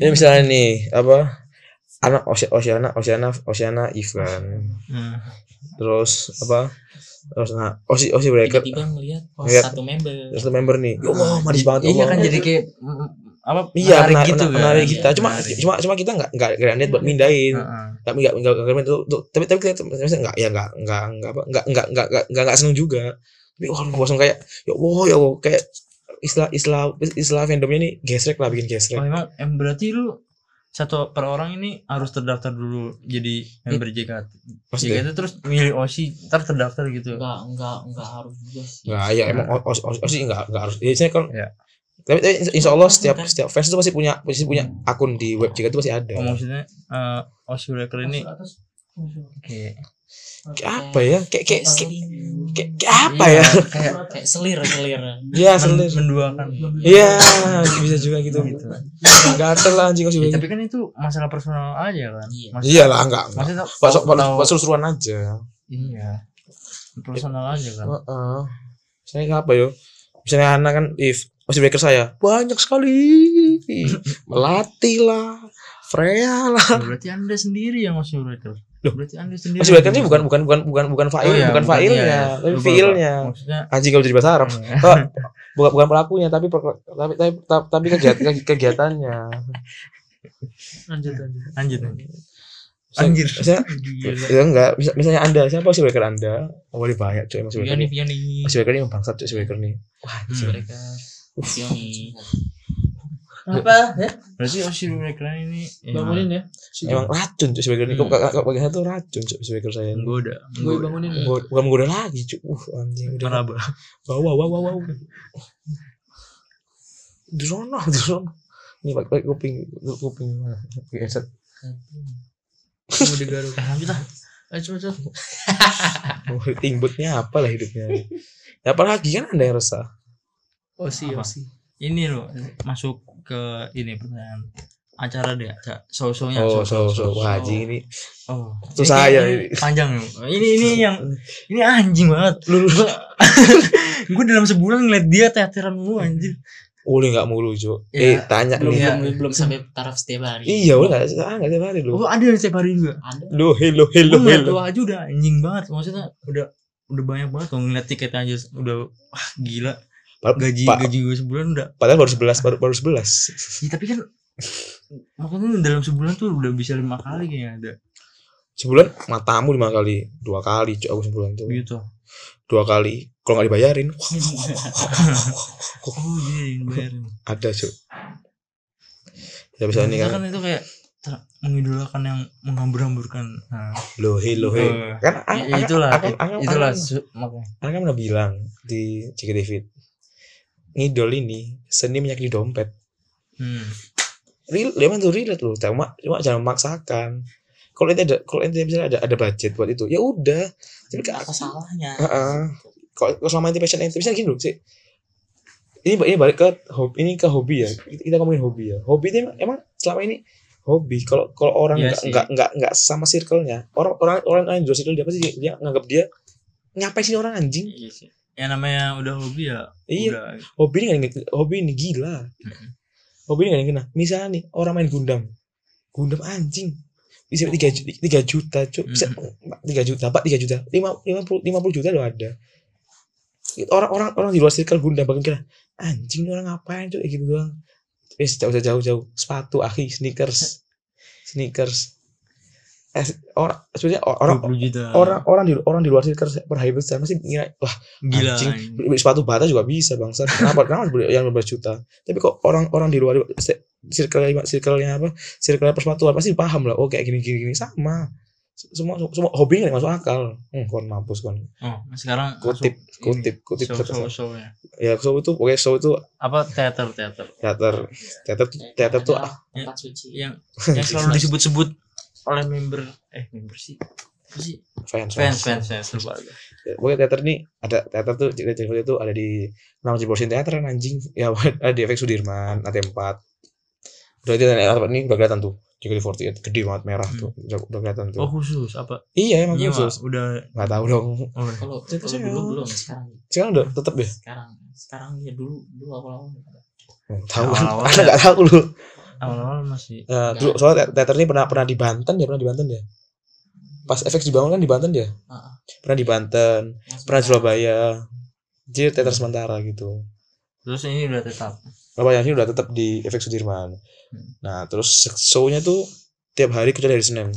ini Ya, misalnya nih apa anak Ose- Oceana Oceana Oceana Ivan Nah, terus apa terus nah Osi Osi mereka tiba-tiba ngelihat oh, Ngeliat. satu member terus member nih ya Allah manis banget Iya Allah. kan jadi kayak mm, apa? iya menarik menarik gitu kan? menarik kita Iya, cuma menarik. Nah. cuma cuma kita nggak nggak nggak niat buat mindahin Heeh. tapi nggak nggak nggak itu itu- tapi tapi kita maksudnya nggak ya nggak nggak nggak apa nggak nggak nggak nggak nggak, nggak seneng juga tapi wah lu langsung kayak ya wow ya wow kayak istilah istilah istilah fandomnya ini gesrek lah bikin Oh, gesrek emang em berarti lu satu per orang ini harus terdaftar dulu jadi member JKT. maksudnya JKT terus milih OSI, ntar terdaftar gitu. enggak enggak enggak harus juga sih nggak ya emang os os os sih nggak nggak harus ya sih kan Iya. tapi, tapi insya- insya Allah setiap setiap fans itu pasti punya pasti punya akun di web jika itu pasti ada Oh, maksudnya eh OSI Breaker ini kayak apa ya kayak Iya kayak kayak, kan? Berselingkuh. kayak- kayak apa ya Iya, kayak kayak selir selir ya men- selir menduakan. ya bisa juga gitu Gitu. gatel lah anjing Ya, juga tapi kan itu masalah personal aja kan. Iya. Maksudnya- gitu. iya lah nggak nggak. Maksudnya Pak so- tahu- Pak suruh-suruan aja iya. Personal aja kan. Heeh. Misalnya apa yo? Misalnya anak kan if masih breaker saya banyak sekali melati lah Freya lah Ya, berarti Anda sendiri yang masih breaker. Loh. Berarti Anda sendiri. masih breaker ini bukan bukan bukan bukan bukan Oh, fail iya, bukan failnya iya. tapi Lupa, lupa. fiilnya Maksudnya anjing kalau jadi bahasa Arab Iya. Oh, bukan bukan pelakunya tapi per- tapi tapi, tapi- tapi kegiatan kegiatannya lanjut lanjut. Lanjut. lanjut. Anjir. Anjir. Saya, Iya. ya enggak, Mis- misalnya Anda, siapa sih breaker Anda? Oh, boleh banyak cuy masih breaker. Vioni nih. Vioni Masih breaker ini bangsat cuy masih breaker nih. Wah, Hmm. masih breaker. mereka Vioni Apa? Ya? Berarti Osir Breaker ini Iya. Bangunin ya. Emang racun cuy masih breaker ini. Kok Hmm. kok- kok bagian satu racun cuy masih breaker saya. ini. menggoda. Gue bangunin. Hmm. Iya. ya. Gua- bukan menggoda lagi cuy uh anjing udah Meraba. wow wow wow wow, wow di sana di sana ini pakai pakai kuping tutup kuping pakai headset Mau digaruk. Lanjut ah. Ayo coba coba. Oh, tingbutnya apa lah hidupnya ya, apalagi kan anda yang resah Osi Osi. Ini loh masuk ke ini pertanyaan acara deh acara show-shownya oh show-show, so so show-show. wah anjing ini oh Itu Ini- saya ini ini. panjang loh. ini ini yang ini anjing banget lu lu gue dalam sebulan ngeliat dia teateran mulu anjir boleh nggak mulu cuy eh Iya. tanya belum nih Iya. belum belum sampai taraf setiap hari iya boleh nggak ah nggak tiap hari lu oh ada yang setiap hari juga ada lu hello hello gue ngeliat hello tua aja udah anjing banget maksudnya udah udah banyak banget tuh ngeliat tiket aja udah wah gila Padahal- gaji pa- gaji gue sebulan udah padahal baru sebelas baru baru sebelas ya, tapi kan makanya dalam sebulan tuh udah bisa lima kali kayaknya ada sebulan matamu lima kali dua kali cuy aku sebulan tuh gitu dua kali kalau nggak dibayarin oh iya yang bayarin ada cuy ya bisa ini Maksudnya kan kan itu kayak ter- mengidolakan yang menghambur-hamburkan nah, lohe lohe Eh, kan ya, ya itulah akan, it- akan, itulah akan, su- makanya akan kan pernah bilang di Cik David ngidol ini seni menyakiti dompet hmm. real emang tuh relate loh cuma cuma jangan memaksakan kalau ente ada kalau ente misalnya ada ada budget buat itu ya udah tapi ke apa salahnya Heeh. Kalau kalau selama itu passion ente, misalnya gini loh sih. Ini ini balik ke hobi, ini ke hobi ya. Kita kita ngomongin hobi ya. Hobi itu emang, emang selama ini hobi. Kalau kalau orang Iya nggak sih. nggak nggak nggak sama circle-nya, orang orang orang orang di circle dia pasti dia, dia nganggap dia ngapain sih ini orang anjing? Iya sih. yang namanya udah hobi ya Iya, udah hobi ini nggak ada yang- hobi ini gila. Mm-mm. Hobi ini nggak ada yang kena. Misalnya nih orang main Gundam, Gundam anjing bisa tiga tiga juta cuy bisa tiga juta empat tiga juta lima lima puluh lima puluh juta lo ada orang-orang orang di luar circle bunda bahkan kira anjing ini orang ngapain tuh kayak gitu doang wis jauh jauh jauh jauh sepatu aki sneakers sneakers eh, orang sebenarnya orang 20 juta. orang orang di orang di luar circle per hari besar pasti ngira wah gila. anjing. beli, beli sepatu bata juga bisa bangsa kenapa kenapa harus beli yang 15 juta tapi kok orang-orang di luar se- circle circle apa circle persepatuan pasti paham lah oh kayak gini gini, gini. sama semua semua hobinya nggak masuk akal hmm, kon mampus kon Oh, sekarang kutip kutip kutip show, show, show ya. ya show itu oke show itu Apa teater teater teater teater teater tuh ah. Adalah tempat suci Iya. yang yang selalu disebut-sebut oleh member eh member sih Apa sih? fans fans fans fans lupa aku. pokoknya teater nih ada teater tuh cerita cerita itu ada di nama Jebosin Teater anjing ya ada di efek Sudirman ada empat udah itu ada apa nih udah kelihatan tuh JKT48 gede banget merah tuh udah, udah kelihatan tuh Oh khusus apa? Hmm. iya emang Iya khusus Mak. udah nggak tahu dong oh, udah. kalau Itu kalau sih dulu memang. belum sekarang iya. sekarang udah tetep ya sekarang sekarang ya dulu dulu awal awal Hmm, tahu kan Awal-awal karena ya. nggak tahu lu awal-awal masih Eh, dulu soalnya te- teater ini pernah pernah di Banten ya pernah di Banten ya pas efek dibangun kan di Banten ya Heeh. pernah di Banten pernah di Surabaya jadi teater sementara gitu terus ini udah tetap. Surabaya ini udah tetap di efek Sudirman Hmm. nah terus se- show-nya tuh tiap hari kerja dari Senin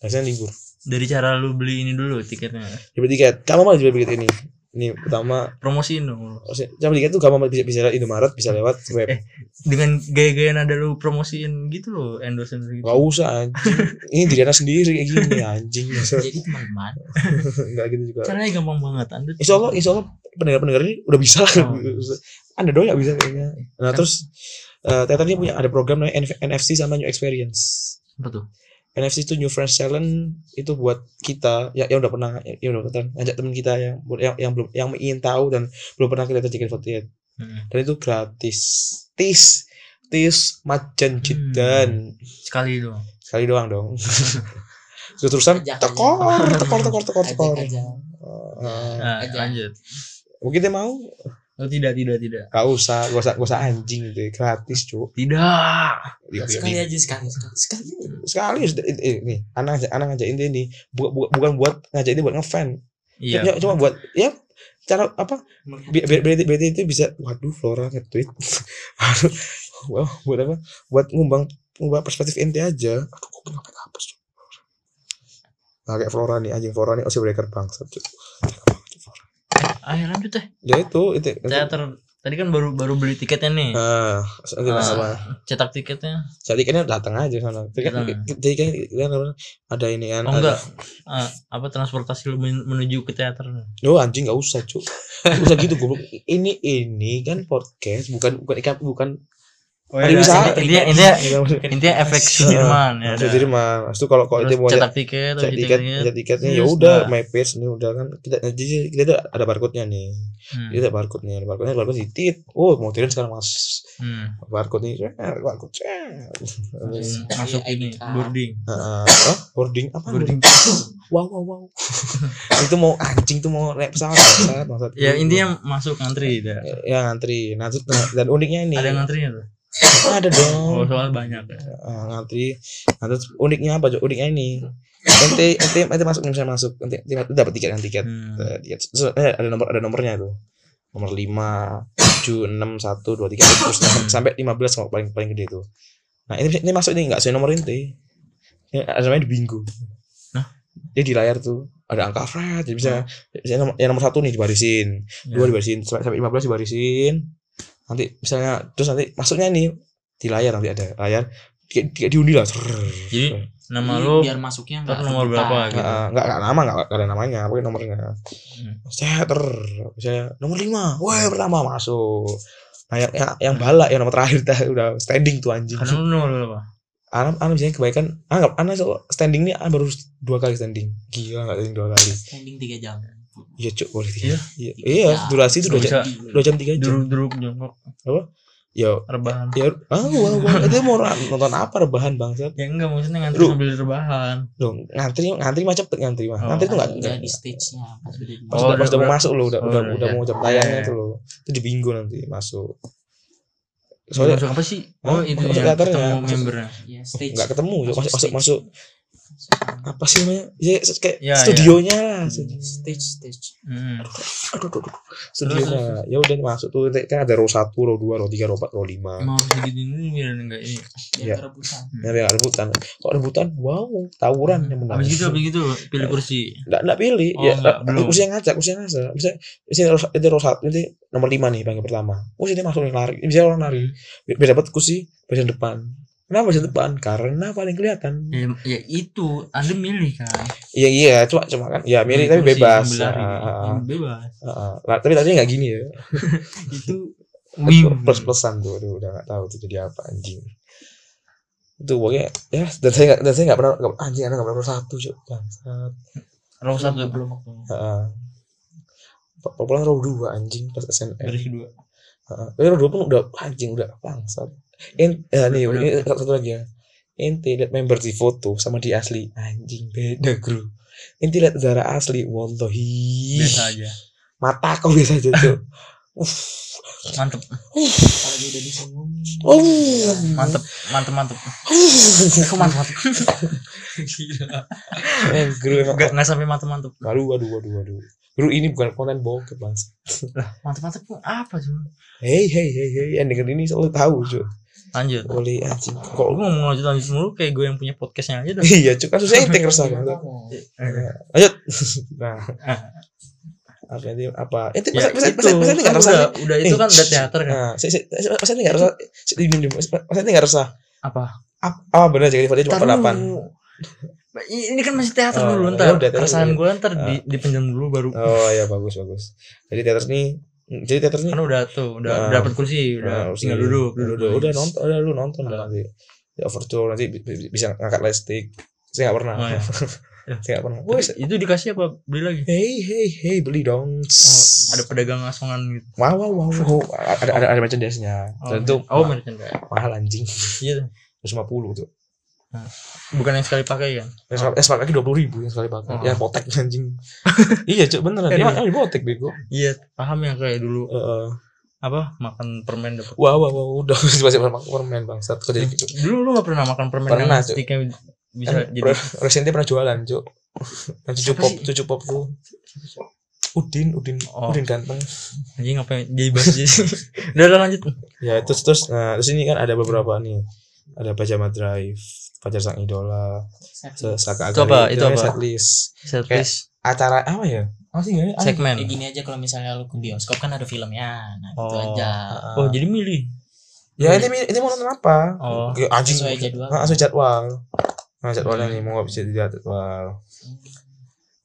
dari Senin libur Dari cara lu beli ini dulu tiketnya. Dibeli tiket kamu malah dibeli tiket ini ini pertama Promosiin dong lu. maksudnya dibeli tiket tuh kamu malah bisa bisa lewat Indomaret bisa lewat web Eh, Dengan gaya-gaya nada lu promosiin gitu loh, endorsement gitu. Gak usah anjing. Ini diri anak sendiri kayak gini anjing. Masa jadi teman-teman Enggak gitu juga. Caranya gampang banget. Anda Insya Allah, insya Allah pendengar-pendengar ini udah bisa. Oh. Anda doang gak bisa kayaknya. Nah Kan- terus eh teater ini punya ada program namanya NF- NFC sama New Experience. apa tuh? NFC itu New Friends Challenge itu buat kita ya yang udah pernah ya udah pernah ngajak teman kita yang yang yang belum yang ingin tahu dan belum pernah kita JKT48 Hmm. dan itu gratis tis tis macan jidan Sekali doang. sekali doang dong terus terusan Ajak aja. tekor tekor tekor tekor ajak tekor aja Eh, Nah, Aja. lanjut. mungkin dia mau Oh, tidak, tidak, tidak. gak usah gak usah gak usah anjing gitu gratis cu Tidak. Iya, sekali aja sekali sekali sekali aja. sekali sudah eh, eh, nih anak ngajak anak ngajak ini nih Bu- bu- bukan buat ngajak ini buat ngefan Iya. Cuma- cuma buat ya cara apa Melihat bi- bi- berarti berarti itu bisa waduh Flora nge-tweet Wah, buat apa buat ngubang ngubah perspektif ente aja aku kok kenapa hapus cu nah, kayak Flora nih anjing Flora nih osi breaker bangsat cu Ayo Ah, lanjut deh. ya itu itu Teater tadi kan baru baru beli tiketnya nih. ah Ah. sama Cetak tiketnya. jadi kayaknya datang aja sana jadi kan Datang. jadi kan kan ada ini kan Oh ada- enggak. Eh, apa transportasi lu men- menuju ke teater? Yo anjing nggak usah cuk nggak usah gitu goblok ini ini kan podcast bukan bukan ikan bukan Oh, iya, iya. intinya intinya bukan intinya efek Sudirman ya. maksud jadi mah itu kalau kalau Terus gitu dia mau cetak cetak tiket, kan. terus tiket cetak tiketnya ya Yes, udah nah. my page ini udah kan kita jadi kita ada, ada barcode nya nih Hmm. kita ada barcode nya barcode nya barcode di tit oh mau tirin sekarang mas Hmm. barcode nih eh, barcode eh. Terus Hmm, Iya, dari Masuk ID ini card. boarding. Ah, ah, boarding apa boarding wow wow wow itu mau anjing tuh mau naik pesawat pesawat maksud Ya intinya masuk ngantri dah. ya ngantri nah, terus- nah, dan uniknya ini Ada ngantrinya tuh. ada dong Oh, soal banyak ya. Ah, ngantri nah, terus uniknya apa Jo? uniknya ini ente ente ente masuk misalnya masuk ente, ente dapat tiket kan tiket Hmm. Eh, tiket Terus, eh, ada nomor ada nomornya tuh nomor lima tujuh enam satu dua tiga gitu. terus sampai lima belas paling paling gede tuh nah ini ini masuk ini nggak sesuai nomor ente ini ada namanya di bingo Nah. dia di layar tuh ada angka fret jadi bisa misalnya nomor, yang nomor satu nih dibarisin dua Ya. dibarisin sampai sampai 15 dibarisin nanti misalnya terus nanti masuknya nih di layar nanti ada layar kayak, kayak diundi lah Jadi nama Ini lu biar masuknya ntar nggak nomor terbuka. berapa gitu. nggak nggak nggak nama nggak nggak ada namanya pakai nomornya Hmm. saya ter misalnya nomor lima wah pertama masuk nah yang yang, yang balak yang nomor terakhir dah udah standing tuh anjing Karena kan lu nomor berapa? Anam Anam biasanya kebaikan anggap Anam so- standing nih Anam baru dua kali standing gila nggak standing dua kali standing tiga jam iya cuk boleh Iya. tiga iya iya Tiga. durasi itu dua jam Bisa. dua jam tiga jam Duruk-duruk jongkok ya rebahan. ya ah wah wah itu mau nonton apa rebahan bangsat Ya enggak maksudnya ngantri Duruk. sambil rebahan. Loh, ngantri ngantri mah cepet ngantri mah. Oh, ngantri tuh Pas enggak udah di stage nya pas udah di Pas Oh, udah, pas udah- udah mau masuk lo udah oh, udah udah, udah iya. mau jam tayangnya Iya, tuh lo. Itu di bingo nanti masuk. Soalnya Soalnya masuk apa sih? Hah? Oh, ya? itu Masuk ya. teaternya, Ketemu masuk- membernya. Iya, stage enggak Oh, ketemu masuk masuk, stage. masuk apa sih namanya? Ya kayak Ya, studionya lah. studio. stage stage Hmm. Aduh, aduh, aduh. Studionya. Ya udah masuk tuh nanti kan ada row 1, row 2, row 3, row 4, row 5. Emang harus digituin dulu biar enggak ini. Iya. biar yeah. rebutan Nah, biar nggak rebutan. Kalau rebutan, wow, tawuran yang Ya. menang. Habis gitu habis gitu pilih kursi. Enggak, enggak pilih. Oh, ya, nggak, nggak, belum. kursi yang ngajak, kursi yang ngajak. Bisa bisa itu row satu, nanti nomor 5 nih panggil pertama. Oh, sini masuk nih lari. Bisa orang lari. Biar, biar dapat kursi bagian depan. Kenapa bagian depan? Karena paling kelihatan. Ya, ya itu Anda milih kan. Iya iya, cuma cuma kan ya mirip tapi Kursi bebas. sambil lari. Ah, ah, ah. Yang bebas. Ah, ah. Lah, tapi tadi nggak gini ya. Itu win. Plus plusan tuh, aduh, udah nggak tahu tuh jadi apa anjing. Itu pokoknya ya dan saya nggak dan saya nggak pernah nggak- anjing anak nggak pernah nomor satu cuk. Bangsat. Ah, Row satu belum waktunya Heeh. Pulang row dua anjing pas SNM. garis dua. Heeh. Ah, Tapi row dua pun udah anjing udah bangsat. In, eh, nih Udah. ini satu, satu lagi ya. Inti lihat member di foto sama di asli anjing beda bro. Inti lihat udara asli wallahi. Biasa aja. Mata kau biasa aja tuh. Uff. Mantep, apalagi udah disinggungi Oh. mantep, mantep, mantep. Kok mantep, mantep. Gila. Eh, Gru emang Nggak, nggak sampai mantep, mantep. Aduh, aduh, aduh, aduh. Gru ini bukan konten bokep, Mas. Mantep, mantep pun apa cuma? Hei, hei, hei, hei, yang denger ini selalu tahu, Cuk. Lanjut. Boleh anjing. Gue Kok mau lanjut lanjut mulu kayak gue yang punya podcastnya aja dah. Iya, Cuk, kan susah intek resah. Mas. Gimana mau? Lanjut. Nah. Apa ini apa? Eh, Itu masa masa itu. masa masa ini enggak Kan resah. udah, udah itu Eh, kan udah teater kan. Nah, saya- saya- saya- masa ini enggak resah. Saya- Diam, diam, diam. Masa ini enggak resah. Apa? Ap- Ah, benar jadi dia cuma Ntar pendapan. dulu. Ini kan masih teater Oh, dulu ya ntar. udah, Eh. teater Perasaan dulu. gue ntar di dipinjam dulu baru. Oh, ya bagus, bagus. Jadi teater ini jadi teater ini Kan udah tuh, udah Ah. udah dapet Nah, kursi, udah harus Iya, tinggal ini. duduk, udah, duduk. udah, udah nonton udah lu nonton lah Nah. nanti di overture nanti bi- bi- bisa ngangkat lightstick saya nggak pernah Oh, iya. saya nggak pernah Tapi Woi, saya- itu dikasih apa beli lagi? hey hey hey beli dong Oh, ada pedagang asongan gitu. wow wow wow, wow. ada ada ada merchandise nya Oh, dan itu oh, ma- merchandise. mahal anjing Iya. tuh. 150 tuh Eh, Bukan yang sekali pakai kan? yang sekali, yang sekali pakai 20 ribu yang sekali pakai Oh. ya potek anjing iya cuk beneran dia Aduh. makan di potek bego Eh, Iya, paham yang kayak dulu Heeh. apa makan permen dapat. wow wow wow udah masih masih permen bangsat kok jadi gitu Dulu lu gak pernah makan permen Pernah, yang Cuk. stiknya bisa Kan jadi Pro- Resident Evil pernah jualan cuk yang cucu Siapa pop sih? cucu pop tuh Udin Udin Oh. Udin ganteng anjing ngapain jadi bahas jadi. Udah udah lanjut. ya terus terus nah, terus ini kan ada beberapa nih ada Pajama Drive Pajar Sang Idola Se- Saka Itu Agari, apa? Itu namanya apa? setlist. Set Kayak- list acara apa ya apa sih nggak ada? Eh, segmen. gini aja kalau misalnya lu ke bioskop kan ada filmnya nah gitu Oh. aja Ah. Oh, jadi milih. ya ini ini mau nonton apa Oh. Ya, anjing sesuai jadwal Nah, sesuai jadwal nah jadwalnya nih mau nggak bisa dilihat jadwal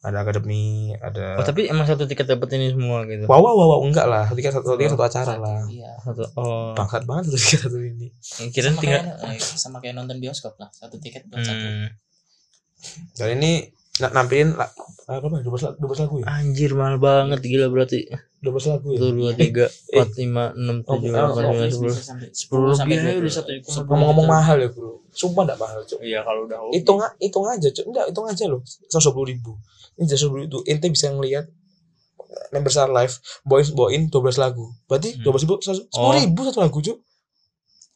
ada akademi Oh, ada tapi emang satu tiket dapat ini semua gitu. wow wow wow wow, enggak lah satu tiga satu tiga satu acara lah iya Satu. Oh. bangsat banget satu tiga satu ini Kirain sama tinggal kayak, eh, sama kayak nonton bioskop lah satu tiket buat satu Hmm. dan ini na- nampilin la- apa apa dua belas lagu ya Anjir mahal banget gila berarti. dua belas lagu ya Satu dua tiga eh. empat lima enam Oh, tujuh oh, delapan oh, sembilan Bisa Iya, sepuluh. sampai- Sepuluh sampai lebih aja 20. udah satu juta. ngomong-ngomong mahal ya bro sumpah enggak mahal cok Iya kalau udah hobi. hitung hitung aja cok enggak hitung aja loh seratus ribu ini seratus ribu itu ente bisa ngelihat member star live bawain bawain dua belas lagu berarti Hmm. dua belas ribu sepuluh ribu satu lagu cok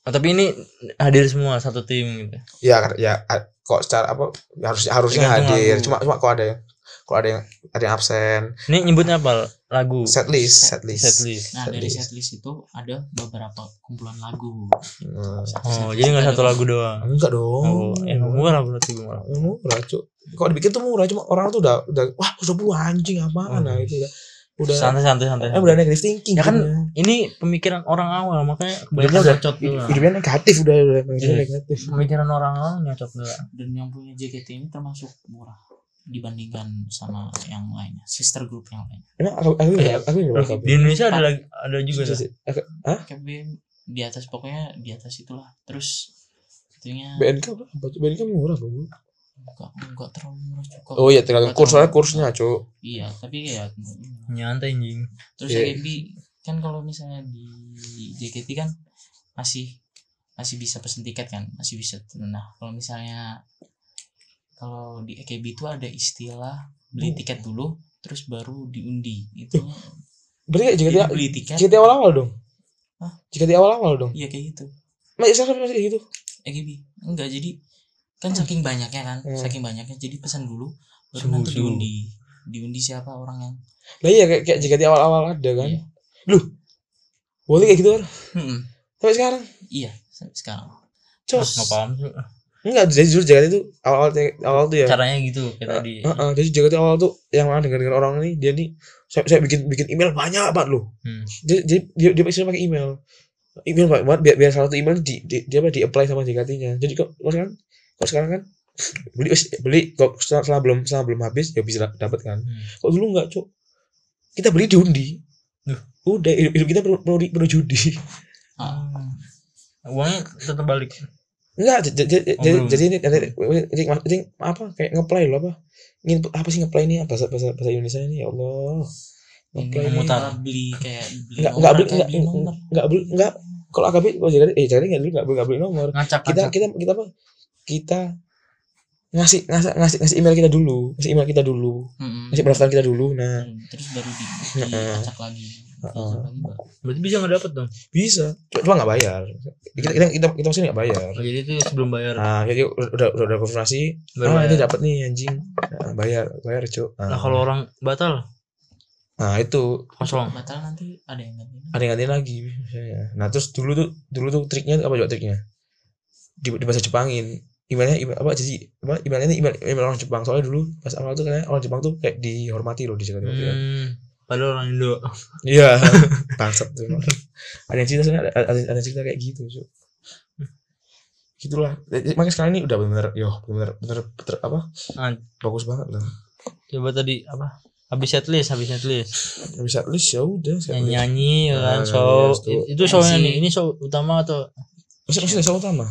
Oh, tapi ini hadir semua satu tim gitu. ya kan- ya a- kok secara apa ya harus harusnya Tergantung hadir lagu. cuma cuma kok ada yang kok ada yang ada yang absen Ini nyebutnya apa? Lagu. setlist setlist Setlist. nah dari Setlist. setlist itu ada beberapa kumpulan lagu Hmm. Oh, jadi nggak satu lagu doang. enggak dong Oh, emang murah berarti gue malah. Ya murah cuk kok dibikin tuh murah cuma orang tuh udah udah wah udah puluh anjing apaan Hmm. nah itu udah udah Santai santai santai. eh, udah negative thinking Ya kan, jadinya. Ini pemikiran orang awal makanya Hidupnya kebanyakan udah- nyocot dulu. hidupnya negatif udah udah Iya. negatif Pemikiran orang awal nyocot dulu. dan yang punya JKT ini termasuk murah dibandingkan sama yang lainnya sister group yang lain emang aku aku Iya. aku aku Di Indonesia ada lagi ada juga tuh. KB di atas pokoknya di atas itulah terus itunya BNK apa? BNK murah bro. enggak enggak terlalu murah juga Oh iya, tergantung kurs soalnya kursnya, Cuk. iya tapi kayak Nyantai anjing. terus Iya. AKB kan kalau misalnya di JKT kan masih masih bisa pesen tiket kan masih bisa nah kalau misalnya kalau di AKB itu ada istilah beli tiket dulu terus baru diundi itu Berarti jika jadi dia beli tiket jika dia awal-awal dong. Hah? Jika dia awal-awal dong. ya iya kayak gitu Masih sampai masih kayak gitu. AKB enggak jadi kan saking banyaknya kan Hmm. saking banyaknya jadi pesan dulu baru Suhu, nanti suhu. diundi diundi siapa orang yang Lah iya kayak, kayak jika di awal-awal ada kan. Iya. Loh. Boleh kayak gitu kan? Mm-mm. Sampai sekarang. hmm, iya sampai sekarang Cos. nggak paham sih. ya. Enggak, jadi jujur jagat itu awal awal tuh ya. caranya gitu kayak tadi Heeh, jadi jagat itu awal tuh yang mana dengar-dengar orang nih dia nih saya, saya bikin bikin email banyak banget loh. Hmm. Jadi, jadi dia dia isinya pakai email. Email banyak banget biar, biar salah satu email di, di dia apa di apply sama JKT-nya. Jadi kok kok sekarang kok sekarang kan beli wes, beli kok setelah, setelah belum setelah belum habis ya bisa dapat kan. Hmm. Kok dulu enggak, Cuk? Kita beli diundi. Loh. Udah hidup, hidup kita perlu perlu, di- perlu judi. Ah. Hmm. uangnya tetap balik Enggak, j- j- j- Oh, jadi belum. jadi ini nanti ini mas- ini apa kayak ngeplay lo apa? Nginput apa sih ngeplay ini bahasa bahasa bahasa Indonesia ini ya Allah. ini Ngeplay. memutar. malah beli kayak beli Enggak enggak nomor beli enggak kayak beli nomor enggak beli enggak kalau AKB kalau jadi eh jadi enggak dulu enggak beli enggak beli nomor. ngacak Kita kita kita apa? Kita ngasih ngasih ngasih ngasih email kita dulu, ngasih email kita dulu, Mm-mm. ngasih pendaftaran kita dulu. Nah, Hmm, terus baru di Heeh. diacak lagi Diacak Heeh. lagi, Mbak. berarti bisa nggak dapet dong bisa. Cuma enggak bayar. Kita kita kita, kita masih enggak bayar. Oh, jadi itu sebelum bayar Nah, jadi udah udah, udah konfirmasi, baru ah, ini bayar. dapat nih anjing. Nah, bayar, bayar, Cuk. nah Nah, kalau orang batal nah itu kosong batal nanti ada yang ganti ada yang ganti lagi biasanya. Nah, terus dulu tuh dulu tuh triknya apa juga triknya? Di, di bahasa Jepangin. Emailnya email, apa jadi apa emailnya ini email, email orang Jepang. Soalnya dulu pas awal tuh kayaknya orang Jepang tuh kayak dihormati loh di Jakarta. hmm. padahal orang Indo Iya. Bangsat tuh. emang. Ada yang cerita sebenarnya ada, ada, ada yang cerita kayak gitu, Cuk. Gitulah. Jadi, Makanya sekarang ini udah bener-bener yo, bener-bener bener- bener apa? Ah. Bagus banget lah. coba tadi apa habis setlist habis setlist Nggak bisa list ya udah. saya yang list. nyanyi ya Ah, kan iya, show itu. It- itu shownya Masih- nih ini show utama atau Maksudnya maksudnya soal utama.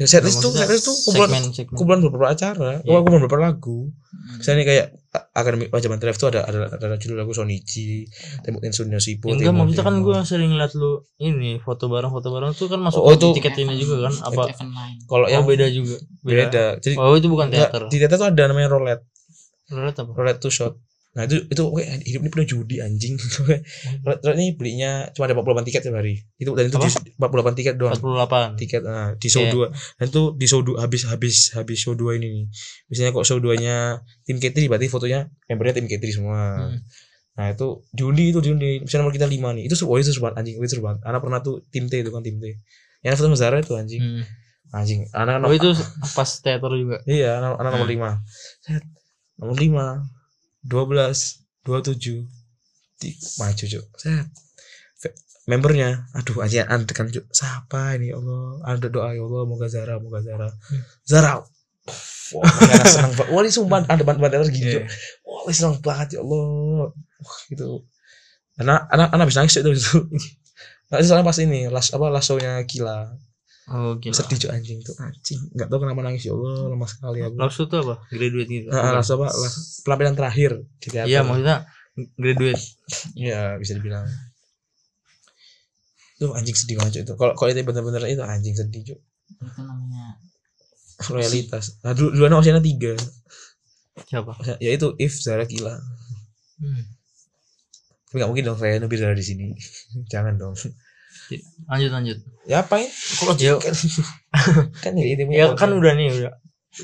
Ya setlist tuh Nah, Maksudnya setlist tuh kumpulan segmen segmen kumpulan beberapa acara, Iya. kumpulan beberapa lagu. Hmm. Misalnya kayak A- akademi wajah Mantra Live tuh ada ada ada judul lagu Sonichi, Temu Tensun Yoshibo. enggak Temo- maksudnya kan Temo. gue sering liat lu ini foto bareng foto bareng tuh kan masuk Oh, ke itu- tiket ini juga kan apa Kayak event lain kalau oh, yang beda, beda juga beda. Jadi oh itu bukan enggak, teater di teater tuh ada namanya roulette, roulette apa roulette two shot. Nah itu itu oke hidup ini penuh judi anjing. roulette, roulette ini belinya cuma ada 48 tiket tiap hari. Itu dan itu Apa? di 48 tiket doang. 48 tiket nah, di show Iya. 2 dan itu di show 2 habis habis habis show 2 ini nih misalnya kok show 2 nya tim K3 berarti fotonya membernya tim K3 semua Hmm. nah itu diundi itu diundi misalnya nomor kita 5 nih itu seru oh, itu seru banget anjing itu seru banget anak pernah tuh tim T itu kan tim T yang ada foto sama Zara itu anjing Hmm. anjing anak oh itu pas teater juga iya anak, anak nomor 5 set nomor 5 12 27 Tik, maju cuk set Fe- membernya aduh aja antekan cuk siapa ini ya Allah ada doa ya Allah moga Zara moga Zara Zara Wah, Zara senang banget. Wah, ini sumpah ada bantuan bantuan Iya. gini, Cuk. Wah, ini senang banget ya Allah. Wah, gitu. Anak anak anak bisa nangis Cuk, itu itu. Nah, soalnya pas ini, las apa lasonya gila. oh gila Sedih Cuk, anjing tuh. Anjing, enggak tahu kenapa nangis ya Allah, lemah sekali aku. Lapsu tuh apa? Graduate gitu. Nah, las apa? Las, penampilan terakhir di teater. Iya, maksudnya graduate. Iya, bisa dibilang. Itu anjing sedih banget Cuk, itu. Kalau kalau itu bener-bener itu anjing sedih Cuk. itu namanya Loyalitas. Nah, dulu duluan Oceana 3. Siapa? Ya itu if Zara gila. Hmm. Tapi nggak mungkin dong saya nubir Zara di sini. Jangan dong. Lanjut lanjut. Ya apain? Kalau Ya, kan, kan ya ini ya kan udah nih udah.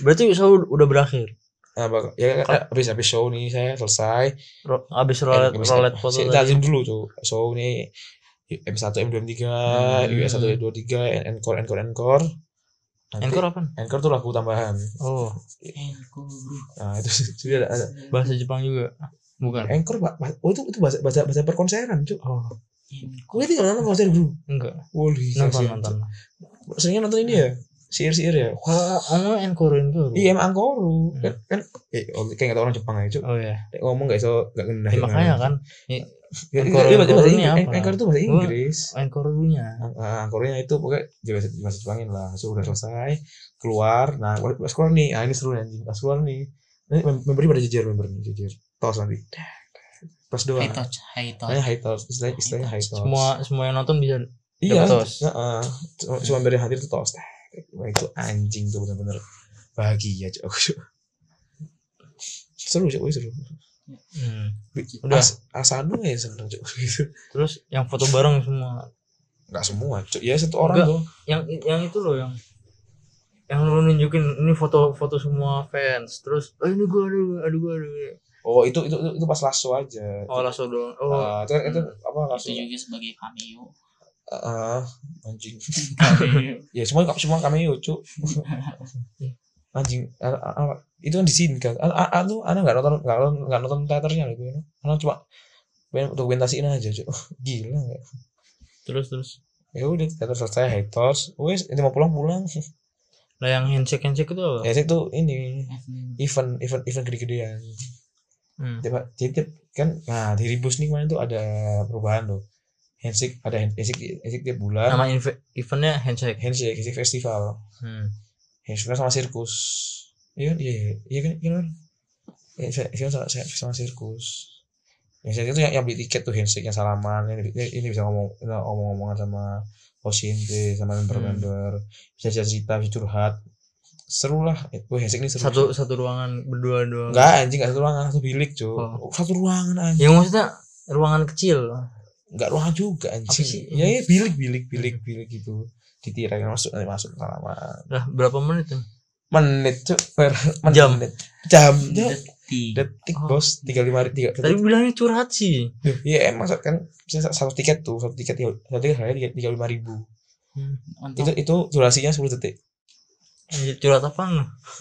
Berarti show udah berakhir. Nah, bak- ya kan habis habis show nih saya selesai. Ro- abis rolet Habis- rolet foto Saya tadi. tazim dulu tuh. Show nih M1 M23, Hmm. US1 M23, encore encore encore. Nanti- Encore apa? Encore tuh lagu tambahan. Oh, Enko Group. Nah, itu sudah ada, ada. bahasa Jepang juga. Bukan. Anchor, Pak. Pak. Oh, itu itu bahasa bahasa bahasa perkonseran, Cuk. Oh, Enko. Gue tidak nonton konser, Bro. enggak. Wih, Nonton kasihan, nonton. Cuk. Seringnya nonton ini ya. Siir-siir ya. Oh, oh, encore encore. Iya, emang Angkoru. Hmm. Kan kan eh oh, kayak kata orang Jepang aja, Cuk. Oh ya. Nek ngomong gak iso gak ngena. Ya, makanya kan Angkoru- Angkoru Angkoru ini ini apa? apa? Angkoru itu bahasa Gua- Inggris. encore dulunya. Ang- ah, Angkorunya itu pokoknya juga bahasa- bahasa Jepangin lah. So, udah selesai, keluar. Nah, pas keluar nih, ah ini seru nih, anjing. Pas keluar nih. Ini mem- membernya pada jejer, membernya jejer. Tos nanti. Pas doang. High touch, high touch. Hanya high toss, istilahnya, istilahnya high toss. Semua semua yang nonton bisa iya. dapat tos. Heeh. Cuma- Cuma dari hadir tuh tos. Wah, itu anjing tuh bener-bener bahagia cok. seru cok, wih, seru. Hmm. Udah Udah. As, asanu ya seneng cok gitu. Terus yang foto bareng semua. Enggak semua cok, ya satu orang Enggak. tuh. Yang yang itu loh yang yang lu nunjukin ini foto-foto semua fans terus oh, ini gua ada ada gua ada gua." Oh itu itu itu, itu pas lasso aja. oh langsung doang oh Ah, itu, itu apa lasso? itu juga sebagai cameo Ah, anjing. cameo Ya semua semua cameo cu. anjing ah, ah, ah, itu kan di sini kan. Ah, ah, ah, tuh anak nggak nonton nggak nonton nggak nonton teaternya loh gue. Anak cuma pengen dokumentasiin aja cu. Gila nggak? terus terus Ya udah teater selesai haters. Wes ini mau pulang pulang. lah Nah, yang handshake handshake itu apa Ya itu ini F9. event event event gede-gedean. hmm. Tiap, jadi tiap kan nah di Ribus nih kemarin tuh ada perubahan tuh. Handshake ada hand- handshake handshake tiap bulan. nama inve- eventnya handshake handshake handshake festival hmm. handshake sama sirkus iya kan? iya iya iya kan iya kan Iya, handshake sama, sama sirkus handshake itu yang, yang beli tiket tuh handshake yang salaman ini, ini, ini bisa ngomong ngomong ngomongan sama posinte sama member member Hmm. bisa bisa cerita bisa curhat seru lah gue handshake ini seru satu satu ruangan berdua dua enggak anjing enggak satu ruangan satu bilik cuy Oh. satu ruangan anjing ya maksudnya ruangan kecil enggak ruangan juga anjing sih? ya ya bilik bilik bilik bilik gitu ditirai masuk nanti masuk salaman lah berapa menit tuh menit cuy per Jam. menit jam jam detik detik Oh. bos tiga lima tiga tadi bilangnya curhat sih iya emang sa- kan bisa sa- satu tiket tuh satu tiket tiga- satu tiket harganya tiga lima ribu Oh. itu untuk itu durasinya sepuluh detik curhat apa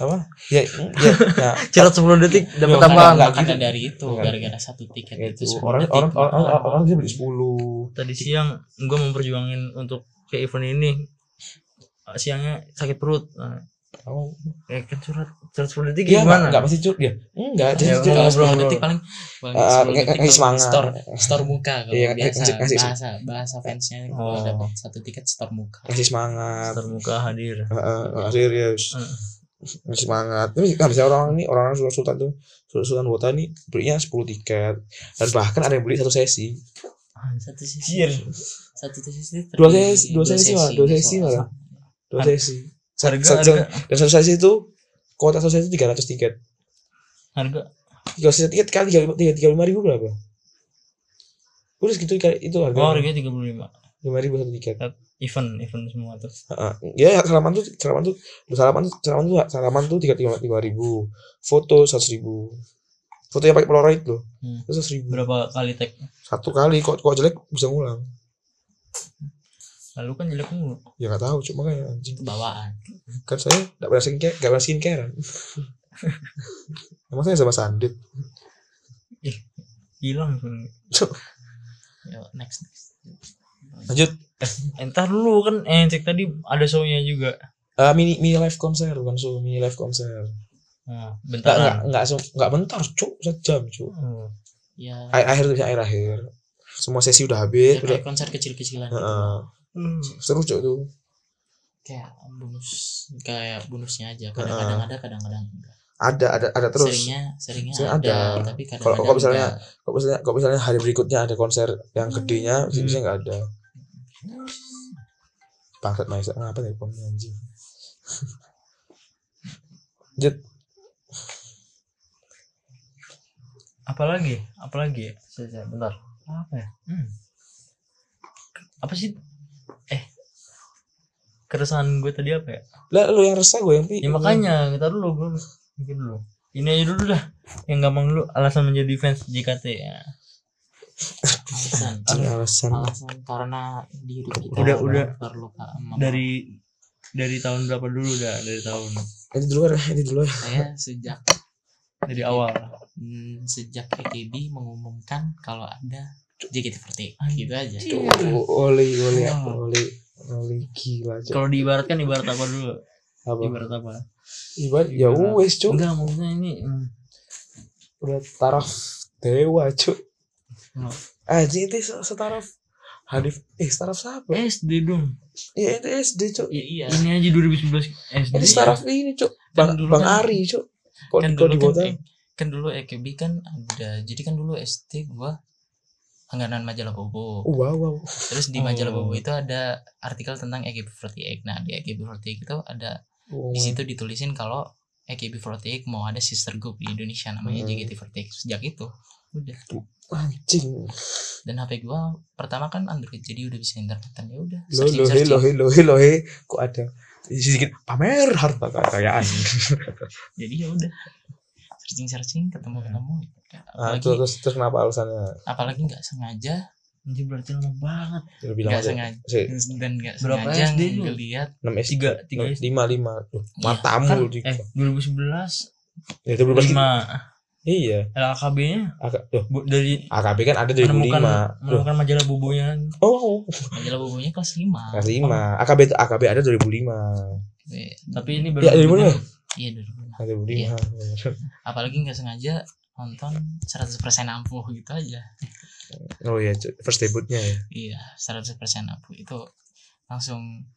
apa ya ya, ya curhat 10 detik dapat Enggak, tambahan enggak karena gitu. dari itu Enggak. gara-gara satu tiket ya itu itu gitu, sepuluh orang detik. Oh. orang orang orang, orang bisa beli sepuluh tadi siang gue memperjuangin untuk ke event ini Eh, siangnya sakit perut nah, Oh. ya kan curhat curhat 10 detik Iya, gimana enggak, enggak pasti cuk ya. Enggak, jadi Ya, cuk, kalau ngobrol, sepuluh ngobrol. detik paling paling Ah, sepuluh nge- detik ngasih kalau semangat. store store muka kalau Iya, biasa ngasih- ngasih- bahasa bahasa fansnya kalau Oh. dapat satu tiket store muka kasih semangat. terbuka hadir Iya. Heeh, heeh, serius. Hmm. Heeh. Kasih semangat. Tapi kan bisa orang ini orang-orang Sultan Sultan tuh, Sultan Sultan Wota nih belinya 10 tiket dan bahkan ada yang beli satu sesi. Ah, satu sesi satu sesi Dua terdiri- sesi- dua sesi malah, dua sesi soal- malah. Dua Har- sesi. Sa- harga sa- harga Dan satu sesi itu kuota satu sesi itu 300 tiket. harga tiga ratus tiket kali tiga tiga tiga lima ribu berapa? Udah segitu kali itu harga oh lima harganya 35 ribu satu tiket. event event semua tuh Heeh. Ya salaman tuh salaman tuh salaman salaman tuh salaman tuh tiga tiga lima ribu. Foto seratus ribu. Foto yang pakai polaroid loh. Hmm. Itu seratus ribu. berapa kali tag Satu kali kok kok jelek bisa ngulang. lalu kan jelek mulu Ya nggak tahu cuma kayak anjing. itu bawaan Kan saya nggak pernah skincare nggak pernah skincarean. Emang saya sama Sandit. hilang sebenarnya. Yuk, next next Lanjut Eh, ntar dulu kan eh cek tadi ada show-nya juga eh, mini mini live konser bukan so mini live konser. nah, Nggak nggak bentaran nggak se- nggak bentar cuk sejam cuk. Hmm. ya akhir akhir tuh bisa akhir akhir semua sesi udah habis Iya, ya udah kayak konser kecil-kecilan gitu Iya, Heeh. Hmm. seru cok tuh kayak bonus kayak bonusnya aja kadang-kadang ada kadang-kadang enggak ada ada ada terus seringnya seringnya Sering ada, ada. tapi kadang-kadang Kalau- kalau misalnya- enggak. kok misalnya kok misalnya hari berikutnya ada konser yang gedenya Hmm. bisa nggak ada bangsat maisa ngapa nih pom ya, anjing jet apalagi apalagi ya? Saya- saya- bentar apa ya hmm. apa sih eh keresahan gue tadi apa ya lah lu yang resah gue yang pi ya makanya kita dulu gue mikir dulu ini aja dulu dah yang gampang dulu alasan menjadi fans JKT ya alasan Anjing, alasan alasan karena di hidup kita Udah- udah. perlu dari dari tahun berapa dulu dah dari tahun ini dulu kan ini dulu Iya. ya. saya sejak dari awal hmm, sejak EKB mengumumkan kalau ada JKT48 gitu aja Tuh, oli oli Wah. oli oli gila cok kalau diibaratkan ibarat apa dulu apa ibarat apa ibarat ya Ibarat. wes cok enggak maksudnya ini hmm, udah taraf dewa cuk No. Hmm. Aji itu se- setaraf Hanif eh setaraf siapa SD dong ya itu SD cuk Ya, iya ini aja 2011 SD ini setaraf ini cuk bang Kan dulu bang kan- Ari cuk kok kan kok dulu di kan, kota eh, kan dulu EKB kan ada jadi kan dulu ST gua langganan majalah Bobo wow wow terus di Oh. majalah Bobo itu ada artikel tentang EKB48 nah di EKB48 itu ada Wow, di situ ditulisin kalau EKB48 mau ada sister group di Indonesia namanya Hmm. JKT48 sejak itu udah anjing dan HP gua pertama kan Android jadi udah bisa internetan ya udah lo lo he lo he lo he lo he kok ada sedikit pamer harta kekayaan jadi ya udah searching searching ketemu ketemu nah, apalagi terus, terus terus kenapa alasannya apalagi nggak sengaja Anjir berarti lama banget. lu bilang nggak aja sengaja si dan nggak Berapa sengaja SD lu? ngelihat enam s Tiga, tiga SD. lima lima Loh, Iya, Kan, matamu di eh 2011 ya itu berubah 5 iya LKB-nya Ak- loh, dari AKP kan ada dari menemukan 2005 Loh, menemukan majalah bobonya oh majalah bobonya kelas lima kelas lima AKP itu AKB ada 2005 Eh, tapi ini baru ya 2005 iya dulu ada 2005 Iya. apalagi nggak sengaja nonton 100% ampuh gitu aja oh iya cu- first debutnya ya iya 100% ampuh itu langsung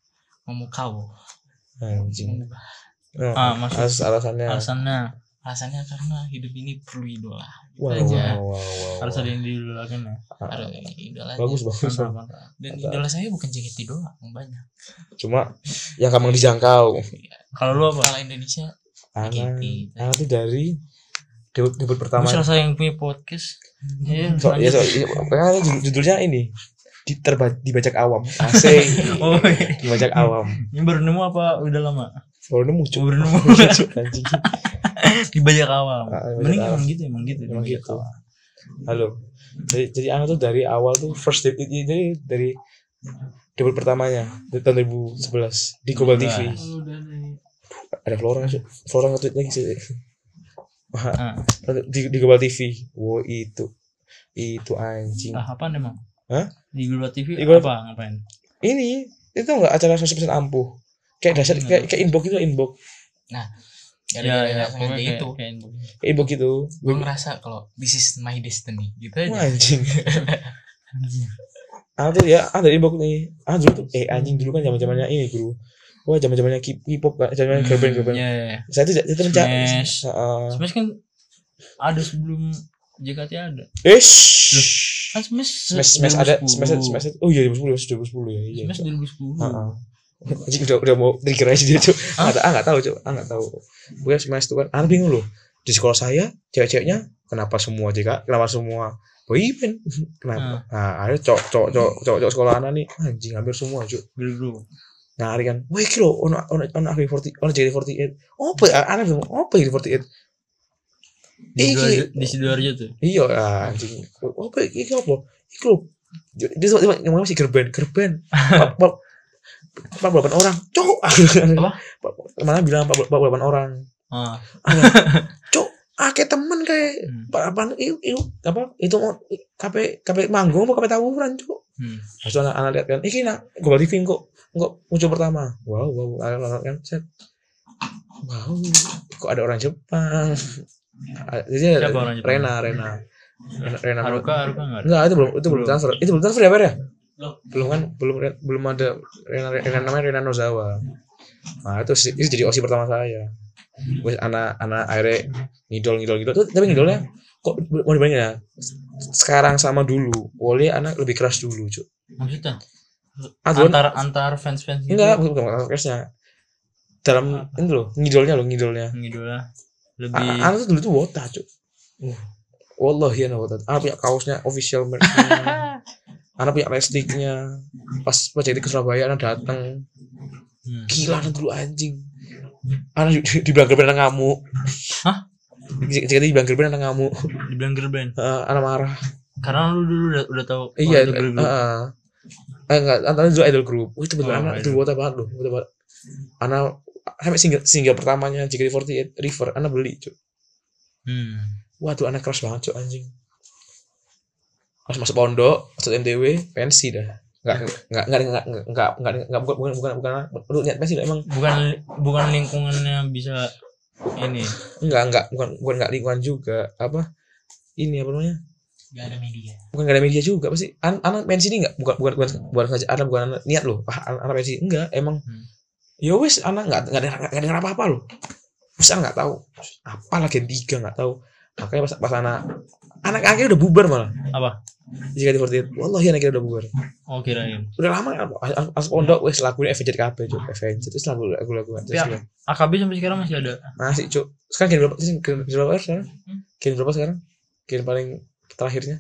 memukau anjing Mengubah. Nah, Ah, maksud- alas- alasannya alasannya alasannya karena hidup ini perlu idola wow, wow, aja. wow, wow, harus wow. ada yang didulakan ya Ah, harus idola aja. bagus bagus Mantap, mantap. dan mantap. idola saya bukan JKT doang banyak cuma yang gampang dijangkau kalau lu apa kalau Indonesia Ana JKT. Ana tuh dari debut debut Gue pertama serasa yang punya podcast Iya, so, ya, lanjut. so, iya, makanya ada judul- judulnya ini di, terba, dibajak awam asik Oh, iya. dibajak awam ini baru nemu apa udah lama? baru nemu cu. Baru nemu. Cu, anjing. Di bajak awal. Ah, di Mending bajak emang gitu, emang gitu. di Emang bajak gitu. awal. halo jadi, jadi Ana tuh dari awal tuh first debut jadi dari debut pertamanya di tahun 2011 di Global Nah. TV Kalau udah nih. ada Flora cu. Flora nge-tweet lagi sih Wah, Ah, di, di Global TV wow itu itu anjing ah, apaan emang? Hah? Di Global Di TV Global- apa ngapain? ini itu nggak acara seratus persen ampuh kayak dasar kayak, Enggak. kayak inbox gitu inbox Ya, gara-gara nggak Iya, Ya, pokoknya sengaja kayak- itu kayak gitu. kayak inbox gitu gue ngerasa kalau this is my destiny gitu Wah, aja anjing ah tuh ya ah dari inbox nih ah dulu tuh eh anjing dulu kan zaman zamannya ini guru wah zaman zamannya K-pop kan zaman Hmm, girl band girl band Iya, iya. saya tuh itu rencana Smash. Smash kan ada sebelum JKT ada. eh Loh, Kan Smash se- smash smash ada 2010. smash smash ada- oh iya 2010 2010 ya iya Smash 2010. Heeh. Anjing udah udah mau trigger aja dia, Cuk. Ah, nggak- ah enggak tahu, Cuk. Ah enggak tahu. Bukan smash itu kan. Ah bingung loh. Di sekolah saya cewek-ceweknya kenapa semua JK, kenapa semua boyband? Kenapa? Nah, ada cowok cowok cowok cowok, cowok sekolah anak nih anjing hampir semua, Cuk. Dulu dulu. Nyari kan. Wah, iki lho ono ono ono AK48, ono JK48. Opo ya anak bingung, opo JK48? Di Iki. Sidoarjo- di Sidoarjo tuh. Iya, ah, anjing. Opo iki iki apa? Iki lho. Dia dia ngomong masih gerben, gerben. Pap- pap- 48 orang. Cuk. Apa? Mana bilang 48 orang. Ah, Cuk, akeh temen kayak hmm, apa itu apa itu mau- kape kape manggung apa kape tawuran cuk hmm. Habis itu anak anak lihat kan iki nak global living kok kok muncul pertama wow wow anak anak kan set wow kok ada orang Jepang Ah, jadi ada Siapa orang Jepang? Rena Rena Rena Rena Haruka, Haruka enggak ada. Enggak, itu belum itu belum Belum. transfer. Itu belum transfer ya, Bar ya? Belum. Belum kan belum belum ada Renan Renan namanya Renan Nozawa. Nah, itu si- itu jadi OSI pertama saya. Wes anak-anak akhirnya ngidol ngidol ngidol. Tuh, tapi ngidolnya kok mau dibandingin ya? Sekarang sama dulu. Wali anak lebih keras dulu, Cuk. Maksudnya Ah, duluan- antar antar fans-fans gitu. enggak, bukan bukan kerasnya. Dalam ini loh, ngidolnya loh, ngidolnya. A- Ngidola lebih a- Anak tuh dulu tuh wota, Cuk. Uh. Wallahi anak wota. Anak punya kaosnya official merek. anak punya plastiknya pas pas jadi ke Surabaya anak datang Hmm. gila anak dulu anjing anak di- di bilang gerben anak ngamuk Hah? jadi di bilang gerben anak ngamuk dibilang girl band. Eh, anak marah Karena lu dulu udah, udah tahu kalau iya itu girl eh, Oh, group. eh. eh enggak antara dulu idol group Wih, itu betul Oh, anak itu idol. buat banget loh buat banget anak sampai single single pertamanya JKT48 River anak beli cuy Hmm. Waduh anak keras banget cuy anjing. Pas masuk pondok, masuk MTW, pensi dah. Enggak enggak enggak enggak enggak enggak enggak enggak bukan bukan bukan bukan lu niat pensi dah, emang Bukan bukan lingkungannya bisa ini. enggak enggak bukan bukan enggak lingkungan juga apa ini apa namanya nggak ada media bukan enggak ada media juga pasti anak, anak pensi ini enggak bukan bukan bukan bukan sengaja anak bukan anak niat loh ah, anak, anak pensi enggak emang Hmm. ya wes anak enggak enggak dengar enggak dengar apa apa loh terus anak enggak tahu apa lah gen tiga enggak tahu makanya pas pas anak anak akhirnya udah bubar malah Apa? jika di Fortnite wallahi anak akhirnya udah bubar Oh kirain. udah lama kan as- as pondok wes lagunya Avenged KB cuk Avenged terus lagu lagu lagu terus Ya. AKB sampai sekarang masih ada. masih cuk sekarang gen berapa sih gen gen berapa sekarang Hmm. gen berapa sekarang gen paling terakhirnya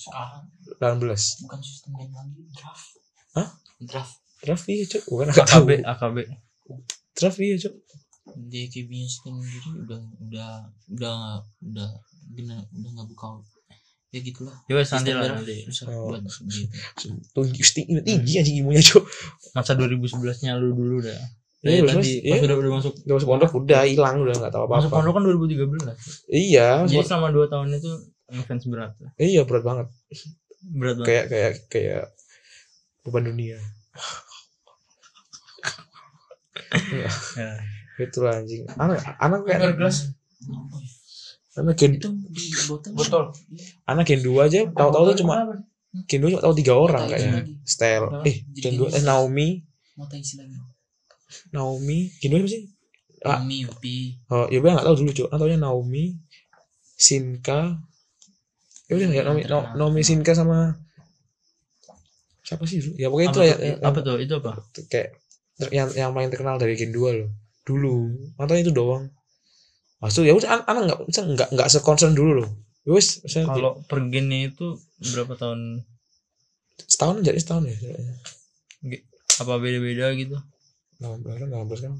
sekarang 18 bukan sistem game lagi draft Hah? draft draft iya cuk bukan nggak tahu AKB AKB. Draft iya cok. JKB sendiri udah udah udah udah gena- udah nggak buka ya gitulah Ya wes nanti lah Sistem nanti. draft rusak Oh. buat gitu. Tuh tinggi tinggi anjing ilmunya cok. Masa 2011-nya lu dulu dah. Iya, Iya, bener, tadi iya. pas udah udah masuk Udah masuk pondok udah hilang udah nggak tahu apa masuk apa. pondok kan 2013. Iya, Jadi masuk- selama 2 tahun itu ngefans berat. iya berat banget. Berat banget. Kayak kayak kayak beban dunia. Ya. Itu lah anjing. Anak anak kayak Agar gelas anak gen itu di botol botol. anak gen dua aja tahu-tahu tuh cuma Apa? gen dua cuma tahu tiga orang Tahu kayaknya. lagi. Stel, Apa? eh Jadi gen dua gen eh dua. Naomi, mau tanya isi lagi Naomi, gen dua apa sih? Ah. Umi Upi Oh, ya gue nggak tahu dulu cok. Nah, taunya Naomi, Sinka. Ya udah ya Naomi, Nah, Na- Naomi Sinka sama siapa sih dulu? Ya pokoknya itu Apa tuh? lah ya, ya, Apa tuh? Itu apa? kayak ter- yang yang paling terkenal dari Gen 2 loh. Dulu, atau itu doang. Maksud ya udah an- anak nggak misalnya nggak nggak sekonsen dulu loh. Ya Wes, misalnya Kalau pergennya itu berapa tahun setahun jadi setahun ya. kayaknya. apa beda-beda gitu? 16 kan 16 kan.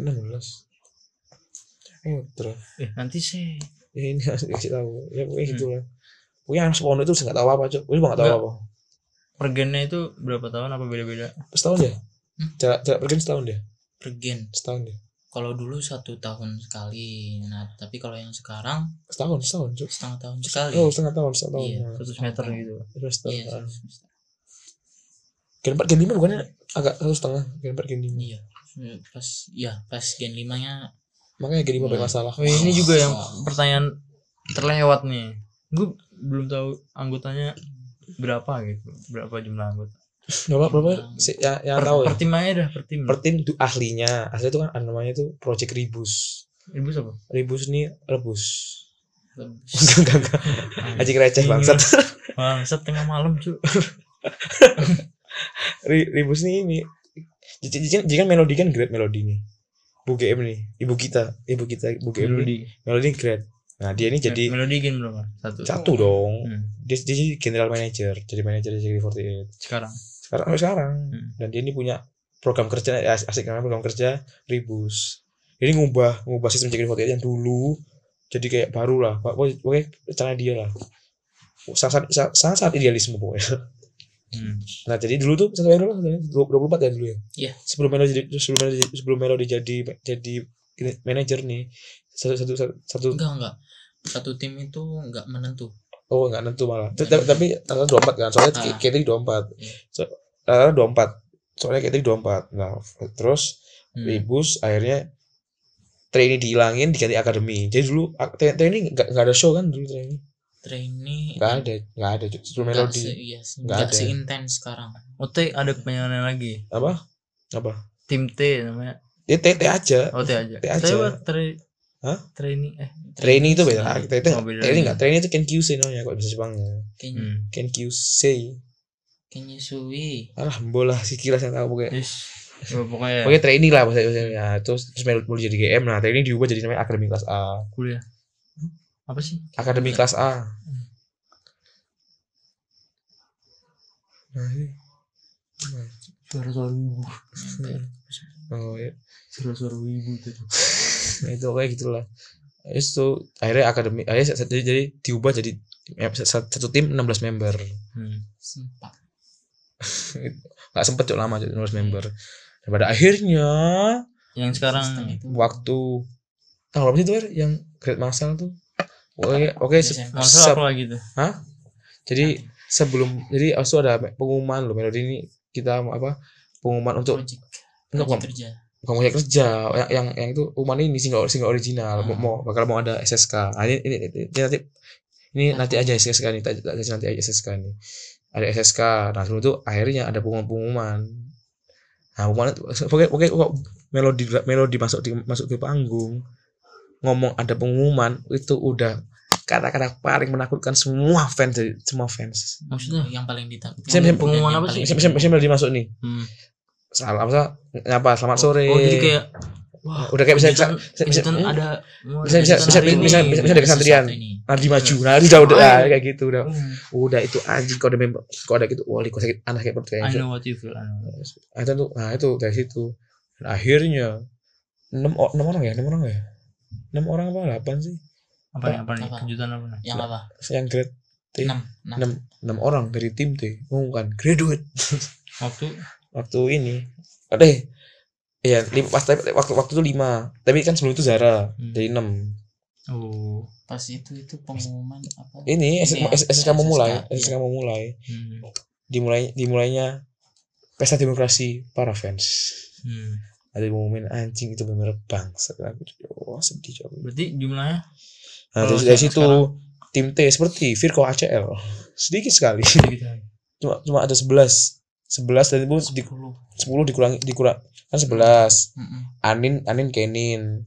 16. Eh, terus Eh, nanti sih. ya ini harus dikasih tahu ya Hmm. pokoknya gitu lah pokoknya yang sepondok itu nggak tahu apa cok gue juga nggak tahu Nggak. apa Pergennya itu berapa tahun apa beda-beda? setahun ya Hmm? jarak jarak pergi setahun deh pergen setahun deh kalau dulu satu tahun sekali nah tapi kalau yang sekarang setahun setahun cok setengah tahun sekali oh setengah tahun setengah tahun Iya. Nah, 100 meter gitu. terus setahun iya seratus persen. gen empat gen lima bukannya agak satu setengah gen empat gen lima iya pas ya pas gen limanya makanya gen lima Iya. banyak masalah Oh, ini juga yang pertanyaan terlewat nih. Gue belum tahu anggotanya berapa gitu, berapa jumlah anggota. berapa berapa si, ya, yang per, tahu ya per tim aja dah, per tim. per tim itu ahlinya ahli itu kan ada namanya itu project ribus Ibu siapa? ribus ini rebus lebih- enggak enggak enggak Hmm. anjing receh Iya. bangsat Bangsat tengah malam, Cuk. Ri- Ribus nih ini jika jika melodi kan grade melodi nih Bu GM nih ibu kita ibu kita ibu GM melodi, melodi Melodi. grade nah dia ini jadi Melodi game berapa? Satu. satu dong Hmm, dia, dia jadi general manager jadi manager JKT48 sekarang. sekarang sampai sekarang Hmm. dan dia ini punya program kerja ya, asik namanya program kerja Ribus jadi ngubah ngubah sistem JKT48 yang dulu jadi kayak baru lah pokoknya pokoknya cara dia lah sangat sangat, sangat, sangat idealisme pokoknya Hmm. Nah jadi dulu tuh satu Melo dua puluh empat ya dulu ya. Iya. Sebelum Melo jadi sebelum Melo jadi- sebelum Melo jadi jadi manajer nih satu satu satu, satu enggak enggak satu tim itu enggak menentu oh nggak nentu malah. Tapi- Tapi tapi antara dua empat kan soalnya Ah. K- K3 dua empat. Iya. So, antara dua empat soalnya K3 dua empat. Nah terus Hmm. Ribus akhirnya trainee dihilangin diganti akademi. Jadi dulu ak- tra- trainee nggak nggak ada show kan dulu trainee trainee nggak ada nggak ada cuy. sebelum enggak Melody se, iya, se- Enggak enggak ada. seintens sekarang Oh, T ada kepanjangannya lagi. apa apa Tim T namanya. ya TT aja Oh, T aja. T aja. Saya buat tra- Hah? Training eh. Trainee itu beda. sekarang. Trainee itu Oh, beda trainee lagi. enggak. Trainee itu Kenkyusei namanya kalau bahasa Jepangnya. kayaknya Hmm. Kenkyusei. kayaknya suwi Alah, bola si kilas yang tahu pokoknya. Yes. Ya, pokoknya Pokoknya trainee lah bahasa Jepangnya. Nah, Terus terus melu- mulu jadi GM. Nah, trainee diubah jadi namanya akademi kelas A. kuliah. Apa sih? Akademi kelas A. Nah, ini. Suara-suara ibu. Oh, ya. Suara-suara ibu tuh. Nah, itu kayak gitulah. Terus tuh akhirnya akademi akhirnya sa- jadi, jadi diubah jadi eh, sa- sa- satu tim 16 member. Hmm. sempat Enggak sempet cok lama cok 16 member. Dan pada akhirnya Yang sekarang Sistem itu waktu tanggal berapa sih tuh Er? yang grade masal tuh oke oke se- Desember. Masa se- apa lagi tuh? jadi sebelum jadi waktu itu ada pengumuman loh melodi ini kita mau apa pengumuman untuk project, enggak project bukan kerja bukan proyek kerja yang, yang yang itu pengumuman ini single single original mau, Hmm. Ah. mau- bakal mau ada SSK nah, ini, ini, ini, ini nanti ini nanti aja SSK nih tak- tak kasih nanti aja SSK nih ada SSK nah sebelum itu akhirnya ada pengumuman pengumuman nah pengumuman itu pokoknya pokoknya kok melodi melodi masuk di masuk ke panggung ngomong ada pengumuman itu udah kata-kata paling menakutkan semua fans dari- semua fans Nah, Maksudnya? yang paling ditakutkan Sem- sem- pengumuman yang apa paling- Saya saya melodi masuk nih Hmm. salam apa apa selamat sore Oh, jadi kayak gitu, wah, udah kayak bisa bisa kejutan- bisa- hmm. bisa- kejutan ada mau bisa- bisa- kejutan bisa- hari bisa- ini. bisa- bisa- bisa- dari sesuatu kesantrian. ini. Nardi maju, Nardi jauh udah Oh, iya. ah, kayak gitu udah. Hmm. Udah itu anjing kalau ada member kalau ada gitu, wah liku sakit anak kayak perut I kayak gitu. know what you feel. I know. Ada tuh, nah itu nah, dari situ. Dan akhirnya enam o- enam orang ya, enam orang ya, enam orang apa delapan sih? apa nih apa nih Apa? kejutan apa Ya. nih yang apa Yang grade T. enam enam enam enam orang dari tim T mengumumkan graduate waktu waktu ini. Oh, deh, Iya, lim- pas tapi- waktu waktu itu lima. Tapi kan sebelum itu Zara Hmm. jadi enam. oh pas itu itu pengumuman apa Ini SS, Iya, SSK mau SSK, mulai, iya. SSK mau mulai. hmm. Dimulai dimulainya pesta demokrasi para fans. Hmm. Ada ngomongin anjing itu benar bangsat aku. Wah, sedih jauh. berarti jumlahnya Nah, Kalau terus dari sekarang- situ tim T seperti Virgo ACL sedikit sekali. sedikit lagi. Cuma cuma ada 11. 11 dan itu di, 10 sepuluh dikurangi dikurang kan 11. Mm-mm. Anin Anin Kenin.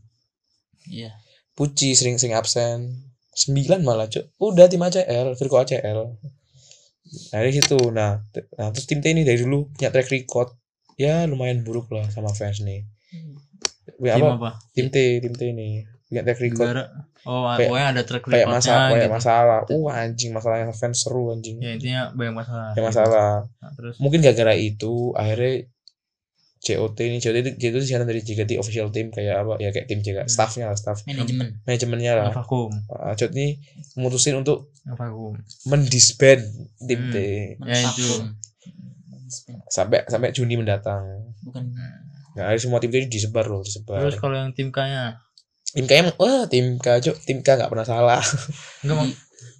iya Puci sering-sering absen. 9 malah, Cuk. Udah tim ACL, Virgo ACL. Nah, dari situ. Nah, t- nah, terus tim T ini dari dulu punya track record ya lumayan buruk lah sama fans nih. Hmm. Ya, tim apa? apa Tim T, tim T ini punya track record Juara. oh Kayak- pokoknya ada track kayak recordnya masalah kayak gitu. masalah uh anjing masalahnya fans seru anjing ya intinya banyak masalah kayak masalah Nah, terus mungkin gara-gara itu akhirnya COT ini COT itu itu siaran dari JKT official team kayak apa ya kayak tim JKT Hmm. staffnya lah staff manajemen manajemennya lah vakum Ah, COT ini memutusin untuk vakum mendisband tim Hmm. T Ya, itu. mensapung. Mensapung. sampai sampai Juni mendatang bukan nah akhirnya semua tim T ini disebar loh disebar terus kalau yang tim K nya tim K emang wah tim K cok tim K nggak pernah salah enggak jadi, Mang.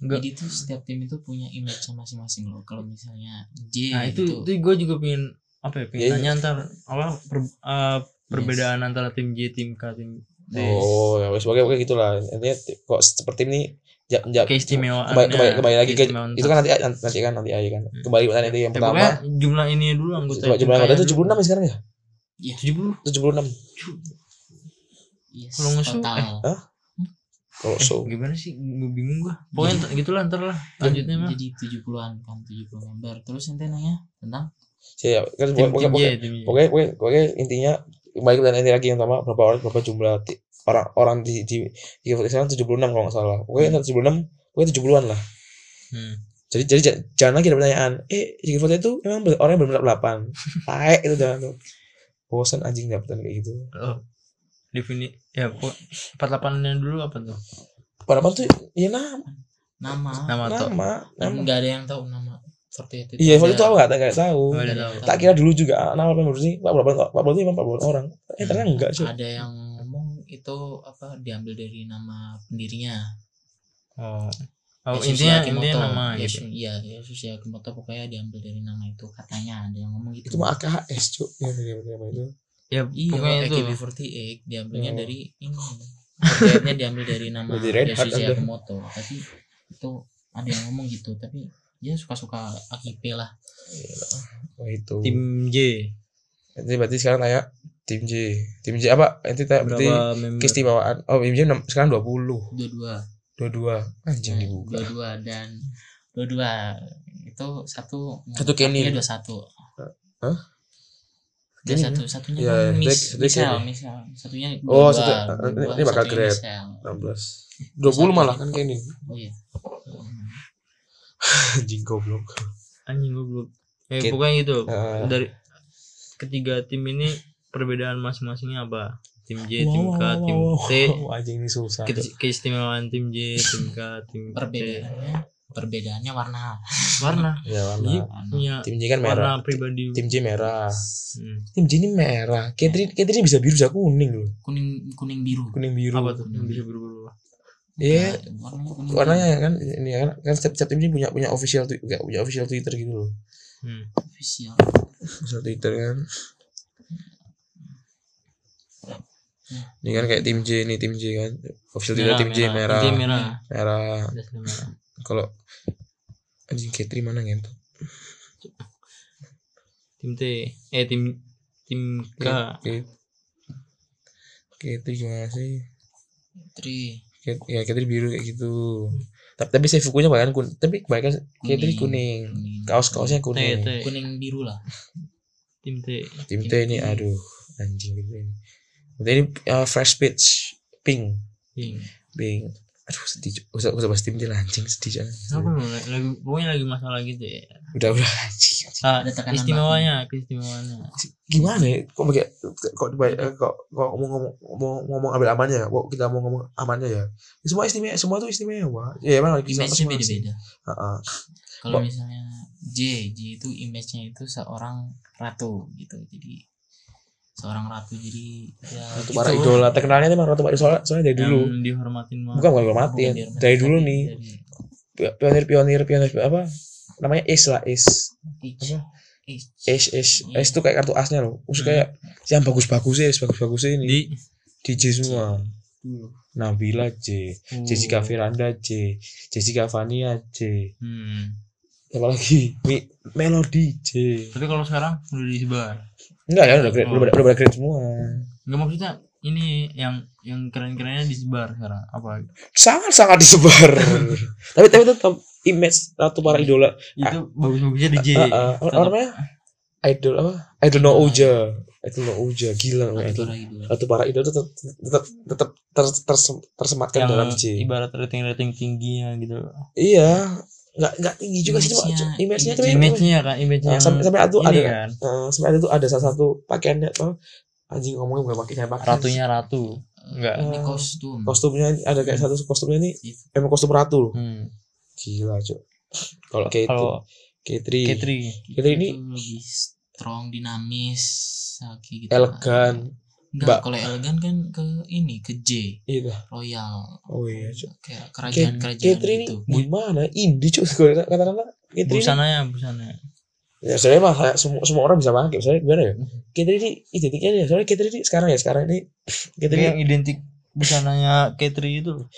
enggak. jadi tuh setiap tim itu punya image masing-masing loh kalau misalnya J gitu. nah itu itu itu gue juga pengen apa ya pengen Ya, nanya antar apa per- eh, perbedaan antara tim J tim K tim D oh ya wes sebagai kayak gitulah intinya ti- kok seperti ini ja, ja, keistimewaan kembali, kembali, kembali lagi ke itu kan nanti nanti kan nanti aja kan kembali ke tadi yang pertama Ya, jumlah ini dulu anggota coba tim jumlah K-nya anggota dulu. tujuh puluh enam sekarang ya 70 tujuh puluh enam yes, kalau eh, ngesel, total kalau so gimana sih gue bingung gue pokoknya ntar- gitulah ntar lah lanjutnya mah jadi 70-an kan 70 member terus ente nanya tentang ya kan tim pokoknya tim J pokoknya- tim J pokoknya pokoknya pokoknya intinya kembali ke nanti lagi yang pertama berapa orang berapa jumlah ti- orang orang di di di sekarang tujuh puluh enam kalau nggak salah pokoknya tujuh puluh enam pokoknya tujuh puluhan lah Hmm. jadi jadi j- jangan lagi ada pertanyaan eh JKT itu memang ber- orangnya benar-benar delapan taek itu jangan tuh bosan anjing dapetan kayak gitu Oh. Defini ya pokok 48 nya dulu apa tuh? padahal tuh ya nama nama Hmm. Nama toh. nama nama nggak ada yang tahu nama seperti itu iya kalau Ada- itu aku nggak nggak tahu Oh, udah tahu. tak kira dulu juga ah, nama apa menurut sih pak berapa Pak- pak berapa emang pak berapa orang eh ternyata enggak sih ada yang ngomong itu apa diambil dari nama pendirinya Oh. Oh, Yasushi intinya Akimoto. intinya nama Yasu- gitu. iya Yasushi Akimoto pokoknya diambil dari nama itu katanya ada yang ngomong gitu itu mah AKHS cuk yang nama itu Ya iya pokoknya itu. AKB48 diambilnya Oh. dari ini Kayaknya diambil dari nama Dari Red Hat Yasushi ada. Akimoto tapi itu ada yang ngomong gitu tapi ya suka-suka AKP lah oh itu Tim J. Nanti berarti sekarang tanya tim J tim J apa nanti tanya berarti Berapa member? keistimewaan oh tim J enam- sekarang dua puluh dua-dua dua dua anjing Nah, dibuka Iya. dua-dua dan dua-dua itu satu Satu Kenin. Iya, dua satu Hah? Dia Kenin, satu satunya Iya, kan iya. mis, Dia- dia misal Kenin. misal satunya Oh, dua-dua, satu- dua-dua, ini- ini bakal satunya grade. misal. enam belas dua puluh malah kan kayak ini oh iya anjing goblok Anjing goblok. Ya Kit- pokoknya gitu. Ah. Dari ketiga tim ini perbedaan masing-masingnya apa? Tim J, iya, tim Wow, K, wow, tim wow, T. wow. anjing ini susah Ke- Keistimewaan tim J, tim K, tim T. perbedaannya perbedaannya warna Warna. ya Iya. warna warna Punya tim J kan merah warna pribadi. tim J merah Hmm. tim J ini merah Katrin Katrin bisa biru bisa kuning loh kuning kuning biru kuning biru Apa tuh? Yang bisa berubah-ubah. Iya. warnanya kuning warnanya kan ini kan kan setiap, setiap tim ini punya punya official twi- kayak punya official Twitter gitu loh Hmm. biru. official official Twitter kan ini kan kayak tim J ini tim J kan official Twitter tim J merah ya. Tim merah. merah Jelasnya merah. kalau anjing Katri mana ngentot tim T eh tim tim K Kat- Katri gimana sih tri Kat- ya Katri biru kayak gitu tapi tapi saya fukunya bahkan kun tapi kebanyakan Katri kuning Nah, kuning, kaos kaosnya T T kuning kuning biru lah tim T tim T ini aduh anjing tim T ini Tim T ini uh, fresh pitch pink Pink. Bing. Aduh sedih. Cuk. Usah usah bahas tim dia lah, anjing sedih jangan. Kenapa lu? lagi pokoknya lagi masalah gitu ya Udah udah anjing. anjing. Ah, Ada tekanan istimewanya, keistimewaannya. gimana ya kok pakai kok dibayar eh, kok kok ngomong ngomong ngomong, ngomong ambil amannya ya kok kita mau ngomong amannya ya Ya, semua istimewa semua tuh istimewa ya emang lagi image-nya beda-beda Heeh. kalau Bo- misalnya J J itu image-nya itu seorang ratu gitu jadi seorang ratu jadi ya Ratu gitu. para idola terkenalnya tuh emang Ratu para idola soalnya dari dulu Yang dihormatin banget. bukan bukan gue mati ya. Bukan dia hormat, dari dulu tapi nih dari- pionir pionir pionir apa namanya Ace lah Ace Ij- Ij- Ace Ace Iya. Ace tuh kayak kartu asnya loh terus kayak yang bagus bagus sih bagus bagus ini Hmm. Di DJ semua Nabila J Hmm. Oh, Jessica Veranda J Jessica Fania J Hmm. apa lagi Mi, Melody J Tapi kalau sekarang udah disebar. enggak ya udah grade Oh. udah, pada- udah pada grade semua Enggak maksudnya ini yang yang keren-kerennya disebar sekarang apa? sangat sangat disebar tapi tapi tetap image ratu para idola Itu bagus-bagusnya di J. Eh, eh, apa apa namanya idol apa idol no Uja idol no Uja gila namanya Ratu idol para idola. ratu para idol tetap tetap tetap ter- terse- tersematkan yang kan dalam J ibarat rating-rating tingginya gitu. iya nggak nggak tinggi juga sih cuma Image-nya- image-nya tuh image Image-nya kan, image-nya. Nah, sampai- sampai itu ini ada- eh, kan sebenarnya itu ada salah satu pakaiannya apa anjing ngomongnya bukan pakainya pakaian ratunya ratu. Enggak. ini Eh, kostum kostumnya ini- ada kayak satu kostumnya nih Itu. emang kostum ratu loh Hmm. gila cok kalau K3 Kalau K3 Ketri Kita ini- Itu lebih strong dinamis kayak gitu elegan Enggak, Mbak. kalau elegan kan ke ini ke J gitu royal oh iya cok kayak K- kerajaan-kerajaan K3 ini gitu gimana indie cok Kalau kata-kata K3 ini busananya busananya ya sebenarnya mah kayak semua, semua orang bisa pakai soalnya gimana ya K3 ini identiknya nih soalnya K3 ini sekarang ya sekarang ini K3 Ini ini yang identik busananya Ketri itu loh.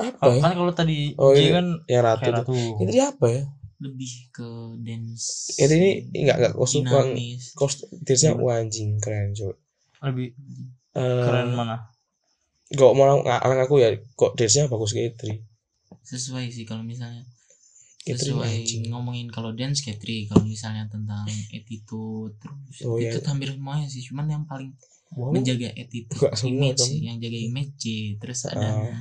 apa Kalau- ya kan kalau tadi Oh, J iya. kan yang ratu kayak tuh ratu. K3 apa ya lebih ke dance K3 ini Eh, enggak enggak kostum bang dinamis kostum dirinya wah anjing keren cok Lebih Eh, keren mana? Gak mau ng- ngarang aku ya kok dance-nya bagus kayak Tri. sesuai sih kalau misalnya Kayak Tri sesuai anjing. ngomongin kalau dance kayak Tri kalau misalnya tentang attitude terus Oh, iya. itu hampir semuanya sih cuman yang paling Wow. menjaga attitude Nggak semua image dong. sih, yang jaga image J terus ada Ah,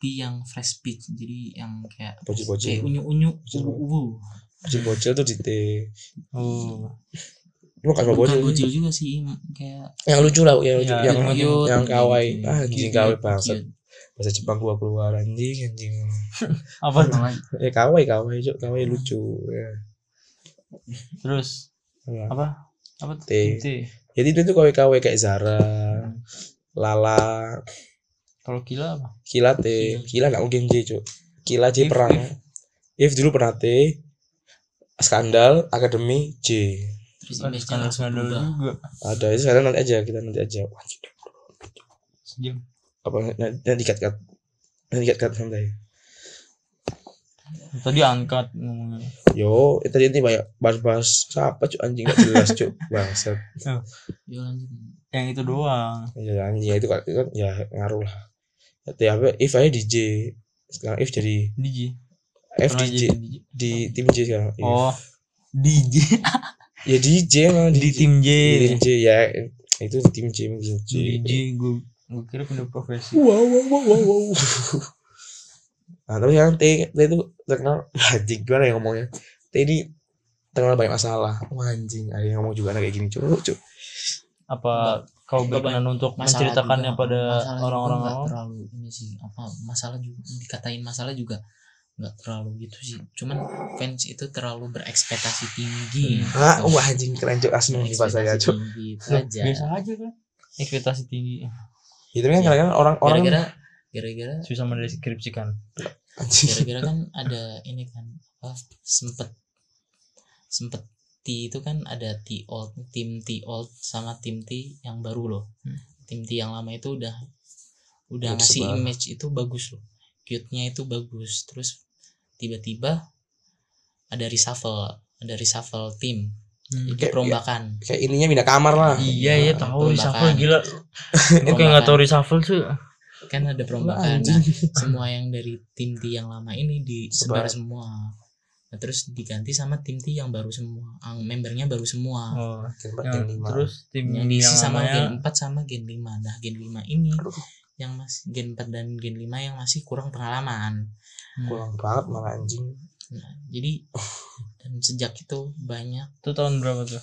P yang fresh pitch jadi yang kayak Bocil-bocil. kayak unyu-unyu Bocil-bocil. uwu-uwu bocil-bocil tuh di T. Oh. Lu kan bocil. bukan bocil juga sih im- kayak Yang lucu lah yang lucu Iya, yang yang cute, yang kawaii. gitu. Ah, anjing Cute, kawaii cute. bangsat. Bahasa Jepang gua keluar anjing anjing. Apa tuh? gitu. Eh kawaii kawaii cok kawaii lucu ya. Terus Nah, apa? Apa tuh? T. Tim T. Jadi itu tuh kawaii kawaii kayak Zara, Lala, Kalau gila apa? Kila T. Kila nggak mungkin J cok. Kila J If, perang. If dulu pernah T. Skandal, Akademi, J. terus Kan image-nya skandal langsung skandal berubah juga. Ada itu sekarang nanti aja kita nanti aja. Wah, gila. Sejam. apa nanti nanti cut cut nanti cut cut santai Tadi angkat ngomongnya. yo itu nanti banyak bahas bahas siapa cuy anjing gak jelas cuy bangsat Yuk, lanjut Yang itu doang. ya anjing ya itu kan itu kan ya ngaruh lah tapi apa if aja DJ sekarang if jadi DJ. F Iya. Pernah DJ jadi DJ. di tim J sekarang If. Oh. DJ ya DJ emang di DJ. tim J. di tim J ya itu di tim J mungkin J DJ gue gue kira pindah profesi. wow wow wow wow wow nah tapi sekarang T T itu terkenal anjing gimana ya ngomongnya T ini terkenal banyak masalah Wah, anjing ada yang ngomong juga anak kayak gini cuy cuy apa kau Enggak berkenan untuk Masalah menceritakannya juga, pada masalah juga orang-orang nggak awam? terlalu ini sih apa masalah juga dikatain masalah juga nggak terlalu gitu sih cuman fans itu terlalu berekspektasi tinggi gitu. ah wah anjing keren cuy asli di bahasa ya Berekspektasi cuy tinggi itu Loh, aja biasa aja kan ekspektasi tinggi itu kan kadang-kadang orang-orang gara-gara gara-gara susah mendeskripsikan anjing gara-gara kan ada ini kan apa sempet sempet T itu kan ada T old tim T old sama tim T yang baru loh Hmm. tim T yang lama itu udah udah Udah ngasih disebar. image itu bagus loh cute nya itu bagus terus tiba-tiba ada reshuffle ada reshuffle tim Hmm. jadi Kayak- perombakan kayak ininya pindah kamar lah Nah, iya iya tahu Perombakan. reshuffle gila gue kayak nggak Perombakan. tahu reshuffle tuh kan ada perombakan nah, semua yang dari tim T yang lama ini Sebar. disebar semua nah, terus diganti sama tim T yang baru semua yang membernya baru semua oh, Tempat yang yang lima. terus tim yang, yang diisi sama namanya gen 4 sama gen 5 nah gen 5 ini Aduh. yang masih gen 4 dan gen 5 yang masih kurang pengalaman kurang banget malah anjing Nah, jadi dan sejak itu banyak Itu tahun berapa tuh?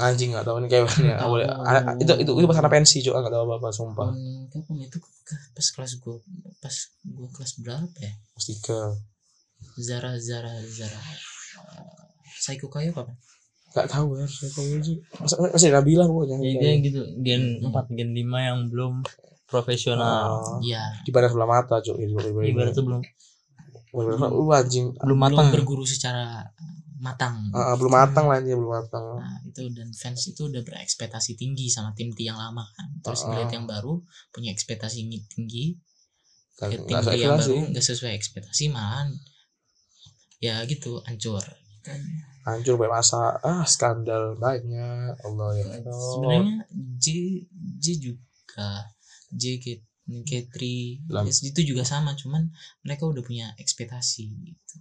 anjing nggak tahu Hmm. nih kayak mana nggak boleh tahu. Anak- itu itu itu pas anak pensi juga nggak tahu apa apa sumpah tahun kapan itu ke- pas kelas gue pas gue kelas berapa ya pas tiga Zara Zara Zara Eh, Psycho kayu kapan nggak tahu ya saya Iya, tahu aja Mas- masih Nabila pokoknya Ya, dia gitu, gen 4, gen 5 yang belum profesional. Iya, Ah, ya di bandar sebelah mata Iya, cok ini Ibaratnya Oh. belum uh, anjing belum matang. belum berguru secara eh, matang Ah, ah, belum matang lah anjing belum matang Nah, itu dan fans itu udah berekspektasi tinggi sama tim T yang lama kan. Terus Heeh. ngeliat yang baru punya ekspektasi ngi- tinggi, kan ke tim nggak T saya yang kelas baru sih nggak sesuai ekspektasi malahan ya gitu hancur. Kan, hancur banyak masa ah skandal banyak Allah ya Allah Sebenarnya J J juga J K K3 Lam- itu juga sama cuman mereka udah punya ekspektasi gitu.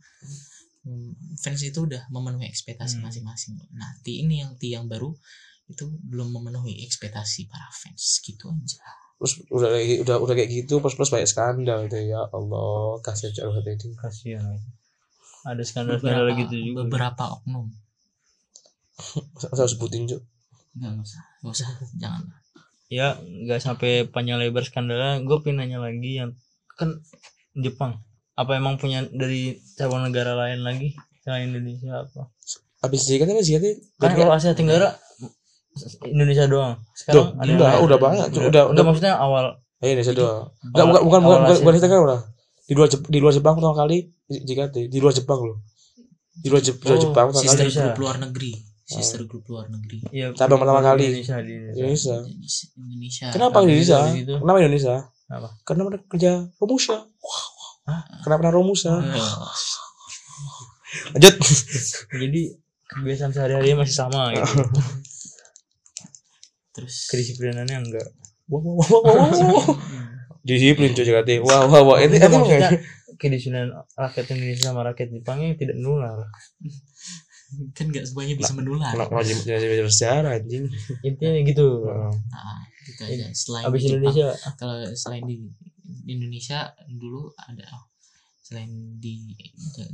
Hmm, Fans itu udah memenuhi ekspektasi Hmm. masing-masing. Nah, T ini yang T yang baru itu belum memenuhi ekspektasi para fans gitu aja. terus udah lagi udah udah kayak gitu plus plus banyak skandal deh ya Allah kasih cok hati ini Kasihan. gitu. Ada skandal-skandal beberapa, gitu juga. beberapa oknum saya sebutin cok nggak nggak usah nggak usah jangan ya nggak sampai panjang lebar skandalnya gue pengen nanya lagi yang kan Jepang apa emang punya dari cabang negara lain lagi selain Indonesia apa habis sih kan habis sih Ah, kan ya. kalau Asia Tenggara Indonesia doang sekarang Duh, ada yang enggak, lain. udah banyak, cu- udah- enggak udah- maksudnya awal Eh, Indonesia doang. Enggak, bukan bukan bukan awal bukan, Asia. bukan Instagram udah. Di luar Jep- di luar Jepang pertama kali JKT, di luar Jepang loh. Di luar, Jep- di luar Oh, Jepang pertama kali sister Indonesia. grup luar negeri Oh. sister grup luar negeri Iya, cabang pertama di kali. Iya. Indonesia di Indonesia. Indonesia. Indonesia, Indonesia Kenapa Habis Indonesia? itu- habis itu. Kenapa Indonesia? Apa? Karena mereka kerja Romusa. Wah, wah. Hah? Hmm. Kenapa pernah Romusa? Eh, Lanjut. jadi kebiasaan sehari-hari masih sama gitu terus kedisiplinannya enggak Wah, wah, wah, wah, wah, wah. Hmm. Disiplin cuy JKT. Wah, wah, wah. Ini Enggak, emang maksudnya ya? kedisiplinan rakyat Indonesia sama rakyat Jepangnya tidak nular kan nggak semuanya bisa menular Kenapa kenapa jadi jadi- jadi sejarah anjing? intinya gitu Heeh. nah, gitu aja selain habis di Jepang, Indonesia kalau selain di di Indonesia dulu ada selain di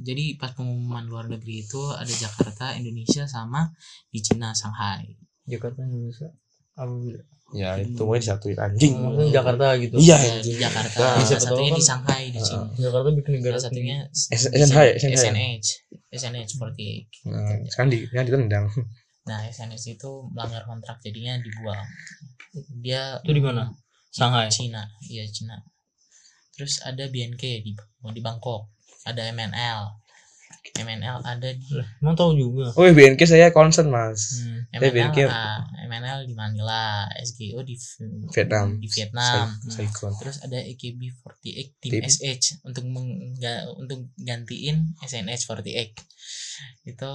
jadi pas pengumuman luar negeri itu ada Jakarta Indonesia sama di Cina Shanghai Jakarta Indonesia apa beda? Ya, itu mau disatuin anjing. Maksudnya Jakarta gitu. Iya, Ya, di anjing. Jakarta Nah. salah Siapa tahu satunya di kan- Shanghai di sini Jakarta bikin negara salah satunya s- S- SNH, SNH. SNH SNH 48 Nah, sekarang di sekarang ditendang. nah SNH itu melanggar kontrak jadinya dibuang dia sendiri. itu di mana? Shanghai. Cina iya Cina terus ada BNK di di Bangkok ada MNL MNL ada di Lah, Emang tahu juga. Oh, BNK saya concern, Mas. Eh, MNL BNK. ah, MNL di Manila SGO di Vi- Vietnam. di Vietnam Hmm. Sai- Saikon. terus ada AKB48 tim, Tim. SH untuk mengga, untuk gantiin SNH48 itu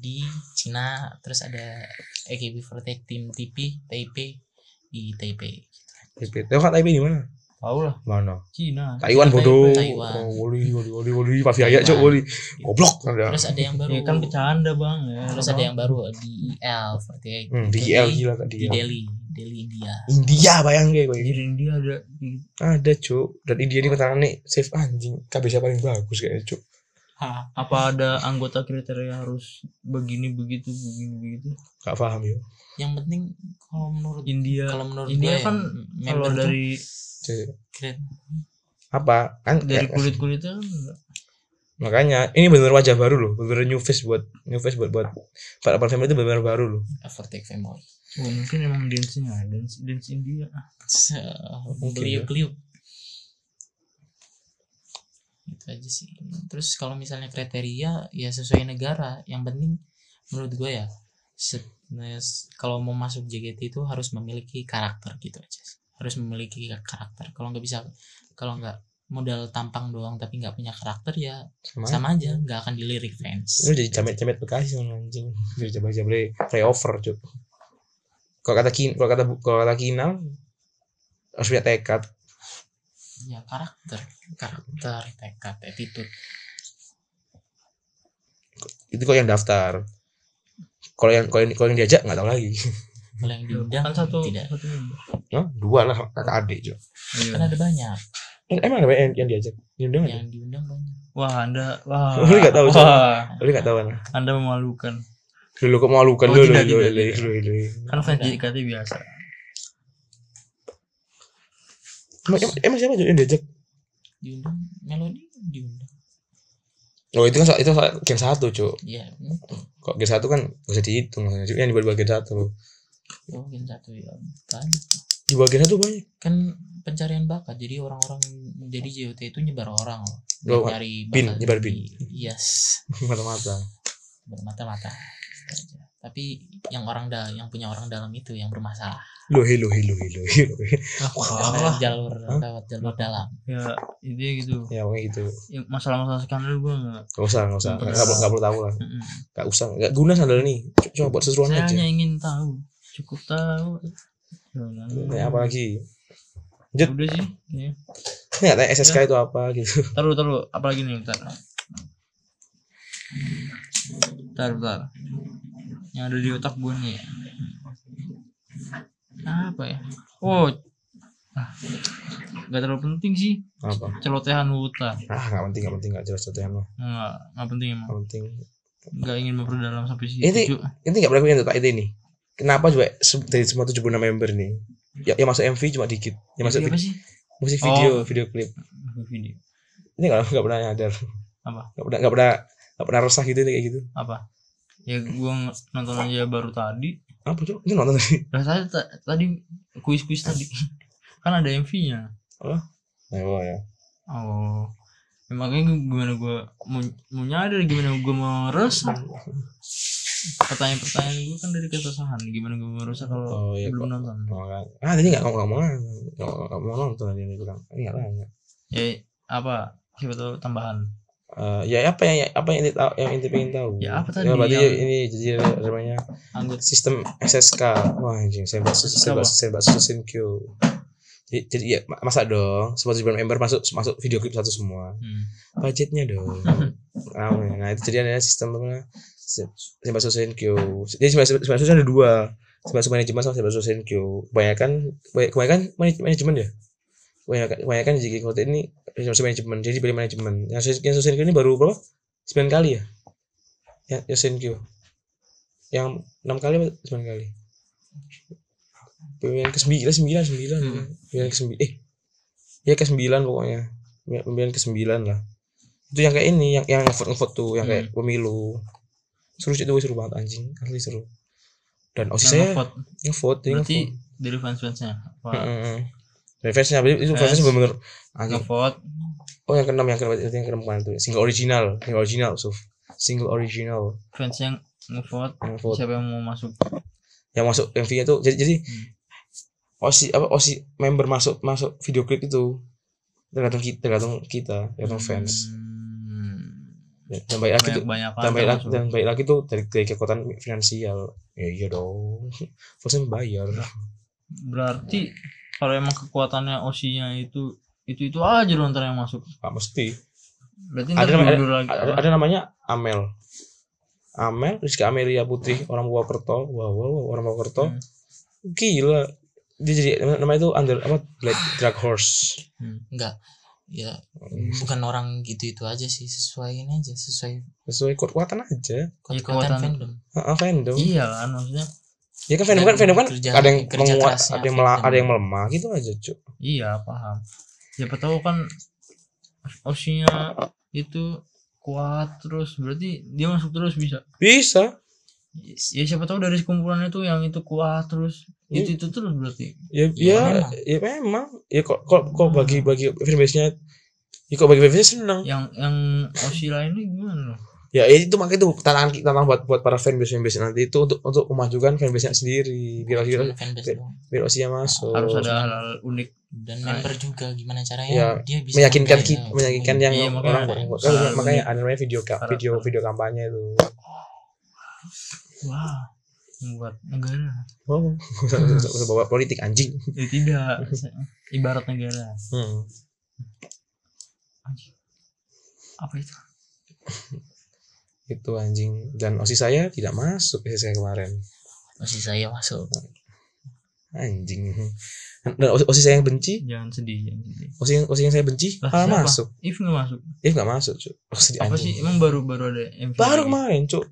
di Cina terus ada AKB48 tim TP Taipei di Taipei Hmm. Taipei. Tahu kan Taipei di mana? Tahu lah, Mana? Cina. Taiwan bodoh. Taiwan. Oh, woli woli woli woli pasti aja cok Iya. woli. Goblok ada. terus ada yang baru Ya kan bercanda, Bang. Ya, terus ada yang baru di E EL48 Hmm, di Jadi, IL gila kan ya. di di IL. Delhi Delhi India India gitu. bayang gue gue. jadi dia ada di Ada cok. Dan India ini tangan nih save anjing. KB siapa paling bagus kayaknya cok. apa ada anggota kriteria harus begini begitu begini begitu. Gak paham yo. yang penting kalau menurut India kalau menurut India gue kan ya, kalau member tuh dari Cek. keren. Apa? Kan dari eh, kulit kulitnya kan enggak. makanya ini bener wajah baru loh. Bener new face buat new face buat buat para para family itu bener baru loh. Evertake Family Wah, Oh, mungkin emang dance nya dance dance India Ah, Se- Mungkin ya. beliuk-beliuk itu aja sih terus kalau misalnya kriteria ya sesuai negara yang penting menurut gue ya se- nah, s- kalau mau masuk JKT itu harus memiliki karakter gitu aja sih. harus memiliki karakter kalau nggak bisa kalau nggak modal tampang doang tapi nggak punya karakter ya Sama. Iya. sama aja nggak akan dilirik fans Lu jadi jamet-jamet Bekasi sama anjing. Jadi jamet-jamet playover, Cuk. Kalau kata Kin, kalau kata kalau kata Kinal harus punya tekad. ya karakter karakter tekad attitude Itu kok yang daftar. Kalau yang kalau yang, kalau yang diajak nggak tahu lagi. kalau yang diundang kan satu tidak satu Iya. Hah? Dua lah kakak adik, Cuk. kan ada banyak Em- Emang ada yang, yang diajak? Diundang aja. yang diundang banyak Wah, Anda wah. Lu nggak tahu, Cok? Wah, Lu gak tahu kan? Anda memalukan. Dulu kok malukan Oh, dulu tidak, dulu tidak, dulu tidak. dulu dulu. Kan fans JKT biasa. Emang- emang- Emang siapa Jok, yang diajak? diundang melodi diundang Oh itu kan sa- itu sa- game satu cuk. ya Kok game satu kan gak usah dihitung maksudnya Cuk. yang di bawah game satu. itu mungkin satu ya kan Di bawah game satu banyak. kan pencarian bakat jadi orang-orang jadi JOT itu nyebar orang loh Loh, Buat nyari bin, bakat Oh, nyebar di- bin. yes Mata-mata. bermata-mata Gitu tapi yang orang da yang punya orang dalam itu yang bermasalah Lohe lohe lohe lohe. lohe. Ah. Karena jalur lewat jalur dalam Ya, intinya gitu. Ya pokoknya gitu. Ya, masalah-masalah skandal gue enggak. Gak usah gak usah. Gak, gak, perlu- gak perlu tahu lah. Mm-mm. Gak usah. Gak guna sandal ini. C- Cuma buat sesuatu Saya aja. hanya ingin tahu, cukup tahu. Jangan- Tanya apa lagi? Jut. Udah sih. Ya. Ya, tanya SSK itu apa gitu. Taruh, taruh. Apalagi nih, bentar. Bentar, bentar. Yang ada di otak gue nih. Apa ya? Oh, ah, nggak terlalu penting sih. Apa? Celotehan hutan. Ah gak penting gak penting gak jelas contohnya mah. Nggak, nggak penting emang. Gak penting. Nggak ingin memperdalam sampai situ. Ini- cuy. Ini gak berlaku untuk ID nih. Kenapa juga se- dari semua 76 member nih? Ya, yang masuk MV cuma dikit. Yang masuk Ini Iya apa sih? musik Oh. video, video klip. Video. Ini gak, gak pernah nyadar. Apa? Gak pernah gak pernah gak pernah resah gitu kayak gitu. Apa? Ya gue nonton aja baru tadi. Apa cok? Ini nonton tadi. Rasanya ta- tadi kuis-kuis tadi. kan ada MV-nya. Nah, oh, ya. Oh. Ya, makanya gua- gimana gua mau, mau nyadar gimana gua mau resah. Pertanyaan-pertanyaan gua kan dari keresahan, gimana gua mau resah kalau Oh, iya, belum kok. nonton. Oh, kan. Ah, tadi gak ngomong ngomong Gak gak mau nonton tadi ini bilang. Ini gak tanya. Ya apa? Siapa tahu tambahan. Eh, ya apa yang apa yang inti tahu yang inti pengen tahu Ya, apa tadi ya, berarti yang- ini jadi namanya Anggota sistem SSK wah anjing saya bakso SSK saya apa? bakso saya bakso SNQ jadi, jadi ya ma- masa dong semua tujuh member masuk masuk video klip satu semua Hmm. budgetnya dong Rame. nah itu jadi ada sistem apa namanya saya bakso SNQ jadi sebenarnya sebenarnya ada dua Sebasu manajemen sama Sebasu SNQ kebanyakan banyak- kebanyakan manaj- manajemen ya kebanyakan kebanyakan di JG Kota ini Sebasu manajemen jadi pilih manajemen yang Sos- yang SNQ ini baru berapa 9 kali ya yang yang SNQ yang 6 kali apa 9 kali pemilihan ke 9 9 9 Hmm. pemilihan ke 9 eh ya ke 9 pokoknya Ya, pemilihan ke 9 lah itu yang kayak ini yang yang vote vote tuh yang kayak Hmm. pemilu seru sih itu gue seru banget anjing asli seru dan osis saya Yang ngevote. ngevote jadi Berarti ngevote dari fans-fansnya. Apa? Heeh. dari fansnya berarti itu Fans. fansnya bener-bener anjing Ngevote. oh yang keenam yang keenam yang keenam kemarin tuh single original single original Suf single original Fans yang ngevote ngevote siapa yang mau masuk yang masuk MV nya tuh jadi jadi Hmm. osi apa osi member masuk masuk video klip itu tergantung kita tergantung kita tergantung Hmm. fans dan baik lagi tuh banyak banyak dan baik lagi dan baik lagi tuh dari, dari kekuatan finansial ya iya dong fansnya bayar Iya. berarti kalau emang kekuatannya osinya itu itu itu aja loh ntar yang masuk nggak mesti berarti Ada ntar namanya- dulu lagi ada, ada namanya Amel Amel Rizky Amelia Putri orang Purwokerto wow, wow, wow orang Purwokerto Hmm. gila dia jadi namanya itu under apa black drag horse enggak ya Hmm. bukan orang gitu itu aja sih sesuaiin aja sesuai sesuai kekuatan aja kekuatan kekuatan. fandom Ah, ah, fandom iya kan maksudnya ya kan fandom kan Dan fandom kan kerja- ada yang kerja menguat kerasnya ada yang melah, fandom. ada yang melemah gitu aja cuk Iya paham. Siapa tahu kan osinya itu kuat terus berarti dia masuk terus bisa. bisa Ya siapa tahu dari sekumpulan itu yang itu kuat terus Iya. itu itu terus berarti. ya Ya, ya ya memang ya kok kok kok bagi bagi fanbase nya ya kok bagi fanbase nya seneng Yang yang osi lainnya gimana? ya itu makanya itu tantangan kita tantangan buat buat para fanbase fanbase nanti itu untuk untuk memajukan fanbase nya sendiri biar biar Cuman fanbase Oke. doang biar usia masuk Harus ada hal, -hal unik. dan member juga gimana caranya Ya, dia bisa ya, meyakinkan ngebiayain. kita meyakinkan yang Iya, makanya orang ada. orang- Salah kan satu makanya nih. ada namanya video ka- Salah video satu. video kampanye itu Wah membuat negara. wow Oh. Usah- usah- usah bawa politik anjing Ya tidak ibarat negara. hmm. Apa itu? itu anjing dan osis saya tidak masuk osis saya kemarin masih saya masuk anjing dan osis, osis saya yang benci Jangan sedih, jangan sedih. osis yang, osis yang saya benci Lah, malah siapa? masuk If nggak masuk, ya nggak masuk cuk osis di apa anjing. sih? Emang baru-baru ada MV? baru kemarin cuk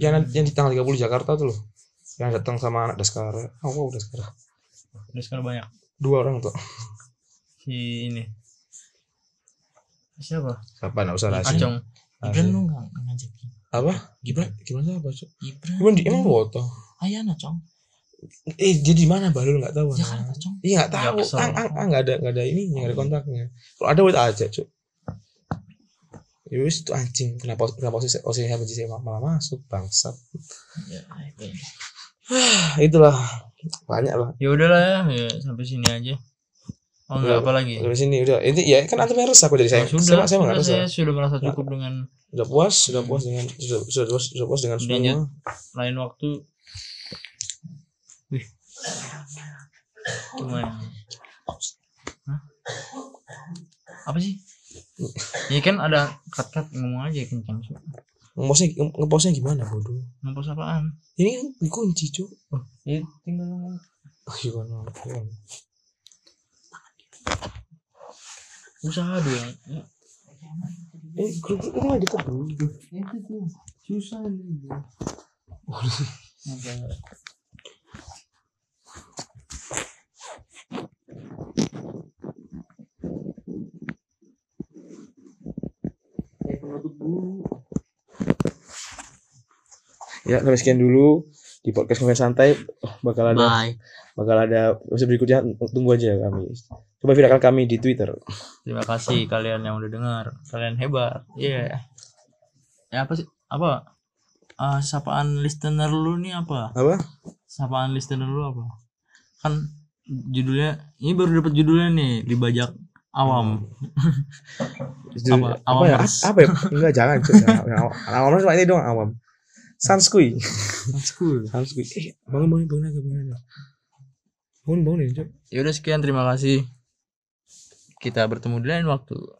yang yang di tanggal 30 Jakarta tuh loh yang datang sama anak Daskara oh wow Daskara Udah sekarang banyak. dua orang tuh Si ini. Siapa? siapa nggak usah rahasia Acong. Gibran lu nggak ngajakin apa Gibran gimana apa cuk Gibran gimana di emang foto Ayana cong eh jadi mana baru nggak tahu nah. Jakarta cong iya nggak Nggak tahu kesel. ang ang ang nggak ada nggak ada ini nggak ada kontaknya kalau ada buat aja cuk Ya wis itu anjing kenapa kenapa oh, osis osis benci saya malah masuk bangsat ya itu Ah, itulah banyak lah Ya udahlah ya, sampai sini aja. Oh, Udah, enggak apa lagi. Sampai sini udah ini ya kan antumnya resah kok dari saya Oh, sudah, saya nggak sudah, resah saya sudah merasa cukup dengan sudah puas sudah puas dengan sudah sudah puas sudah puas dengan Udah, semua Jod. lain waktu wih lumayan Hah? apa sih ya kan ada cut cut ngomong aja kencang Su. ngepostnya ngepostnya gimana bodoh ngapus apaan ini kan dikunci cuk Oh. ini tinggal ngomong oh, gimana ngomong? usaha dulu ya. eh grup grup ini ada dulu susah nih ya sampai sekian dulu di podcast ngobrol santai Oh, bakal ada bye bakal ada episode berikutnya tunggu aja kami coba viralkan kami di twitter terima kasih kalian yang udah dengar kalian hebat iya ya apa sih apa Ah, sapaan listener lu nih apa apa sapaan listener lu apa? Kan judulnya ini baru dapat judulnya nih dibajak awam. apa, Apa? apa ya Awamers. apa ya enggak jangan cuy awam cuma ini doang awam sanskui School. sanskui eh bangun bangun bangun aja bangun aja bangun bangun ya cuy Ya udah sekian terima kasih. Kita bertemu di lain waktu.